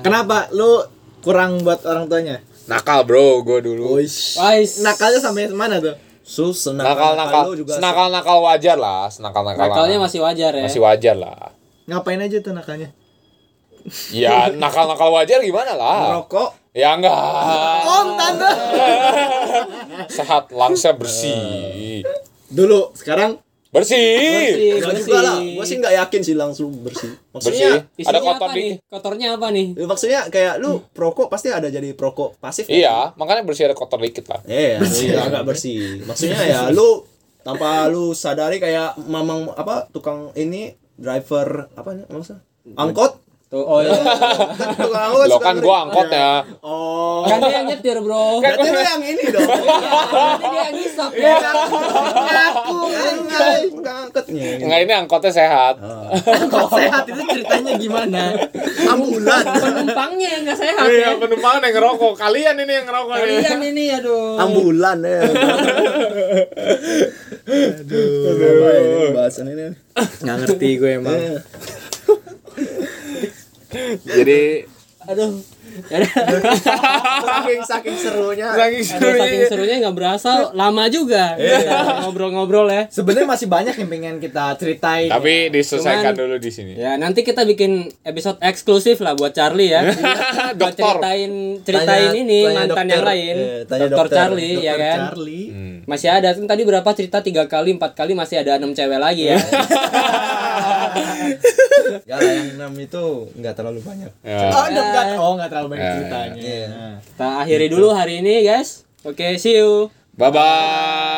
Kenapa lu kurang buat orang tuanya? nakal bro gue dulu Wais. Nakalnya sampai mana tuh? So senang nakal nakal nakal nakal wajar lah nakal nakal Nakalnya masih wajar ya. masih wajar lah Ngapain aja tuh nakalnya? ya nakal nakal wajar gimana lah Rokok ya enggak Om Oh, tante. sehat langsnya bersih Dulu sekarang bersih Bersih, Enggak bersih. juga lah, gue sih nggak yakin sih langsung bersih. bersih Maksudnya, Isinya ada kotor apa nih? dikit Kotornya apa nih? ya, maksudnya kayak lu perokok pasti ada jadi perokok pasif. kan? iya makanya bersih ada kotor dikit lah Eh, bersih. agak bersih. Maksudnya ya lu tanpa lu sadari kayak mamang apa tukang ini driver apa nih maksudnya? Angkot? Tuh, oh iya. Kan tukang angkot lo suka kan ngeri. gua angkotnya Oh. Kan dia yang nyetir, Bro. Iya, Berarti lu yang ini dong. Berarti dia yang ngisap Iya. ya. Aku enggak tukang angkotnya. enggak ini angkotnya sehat kok sehat itu ceritanya gimana? Ambulan. Penumpangnya yang enggak sehat ya. iya penumpang yang ngerokok kalian ini yang ngerokok nih. Kalian ini aduh. Ambulan ya. Aduh. apa ini Bahasan ini. Nggak ngerti gue emang. Eh. jadi Aduh. Aduh. saking saking serunya saking Saking serunya serunya nggak berasa lama juga Iya. Iya, ngobrol-ngobrol ya. Sebenarnya masih banyak yang pengen kita ceritain. tapi diselesaikan Cuman- dulu di sini Ya nanti kita bikin episode eksklusif lah buat Charlie ya. Buat dokter ceritain ceritain Tanya- ini tanya mantan dokter. yang lain. Iya, tanya dokter, dokter. Charlie ya kan. Charlie. Hmm. Masih ada kan tadi berapa cerita tiga kali empat kali masih ada enam cewek lagi Iya. ya. Gak lah yang enam itu nggak terlalu banyak Nah. Ya. Oh, enggak, enggak. Eh. oh, enggak terlalu banyak Ya, ceritanya. Iya. Nah. Kita akhiri dulu hari ini guys. Oke, see you. bye bye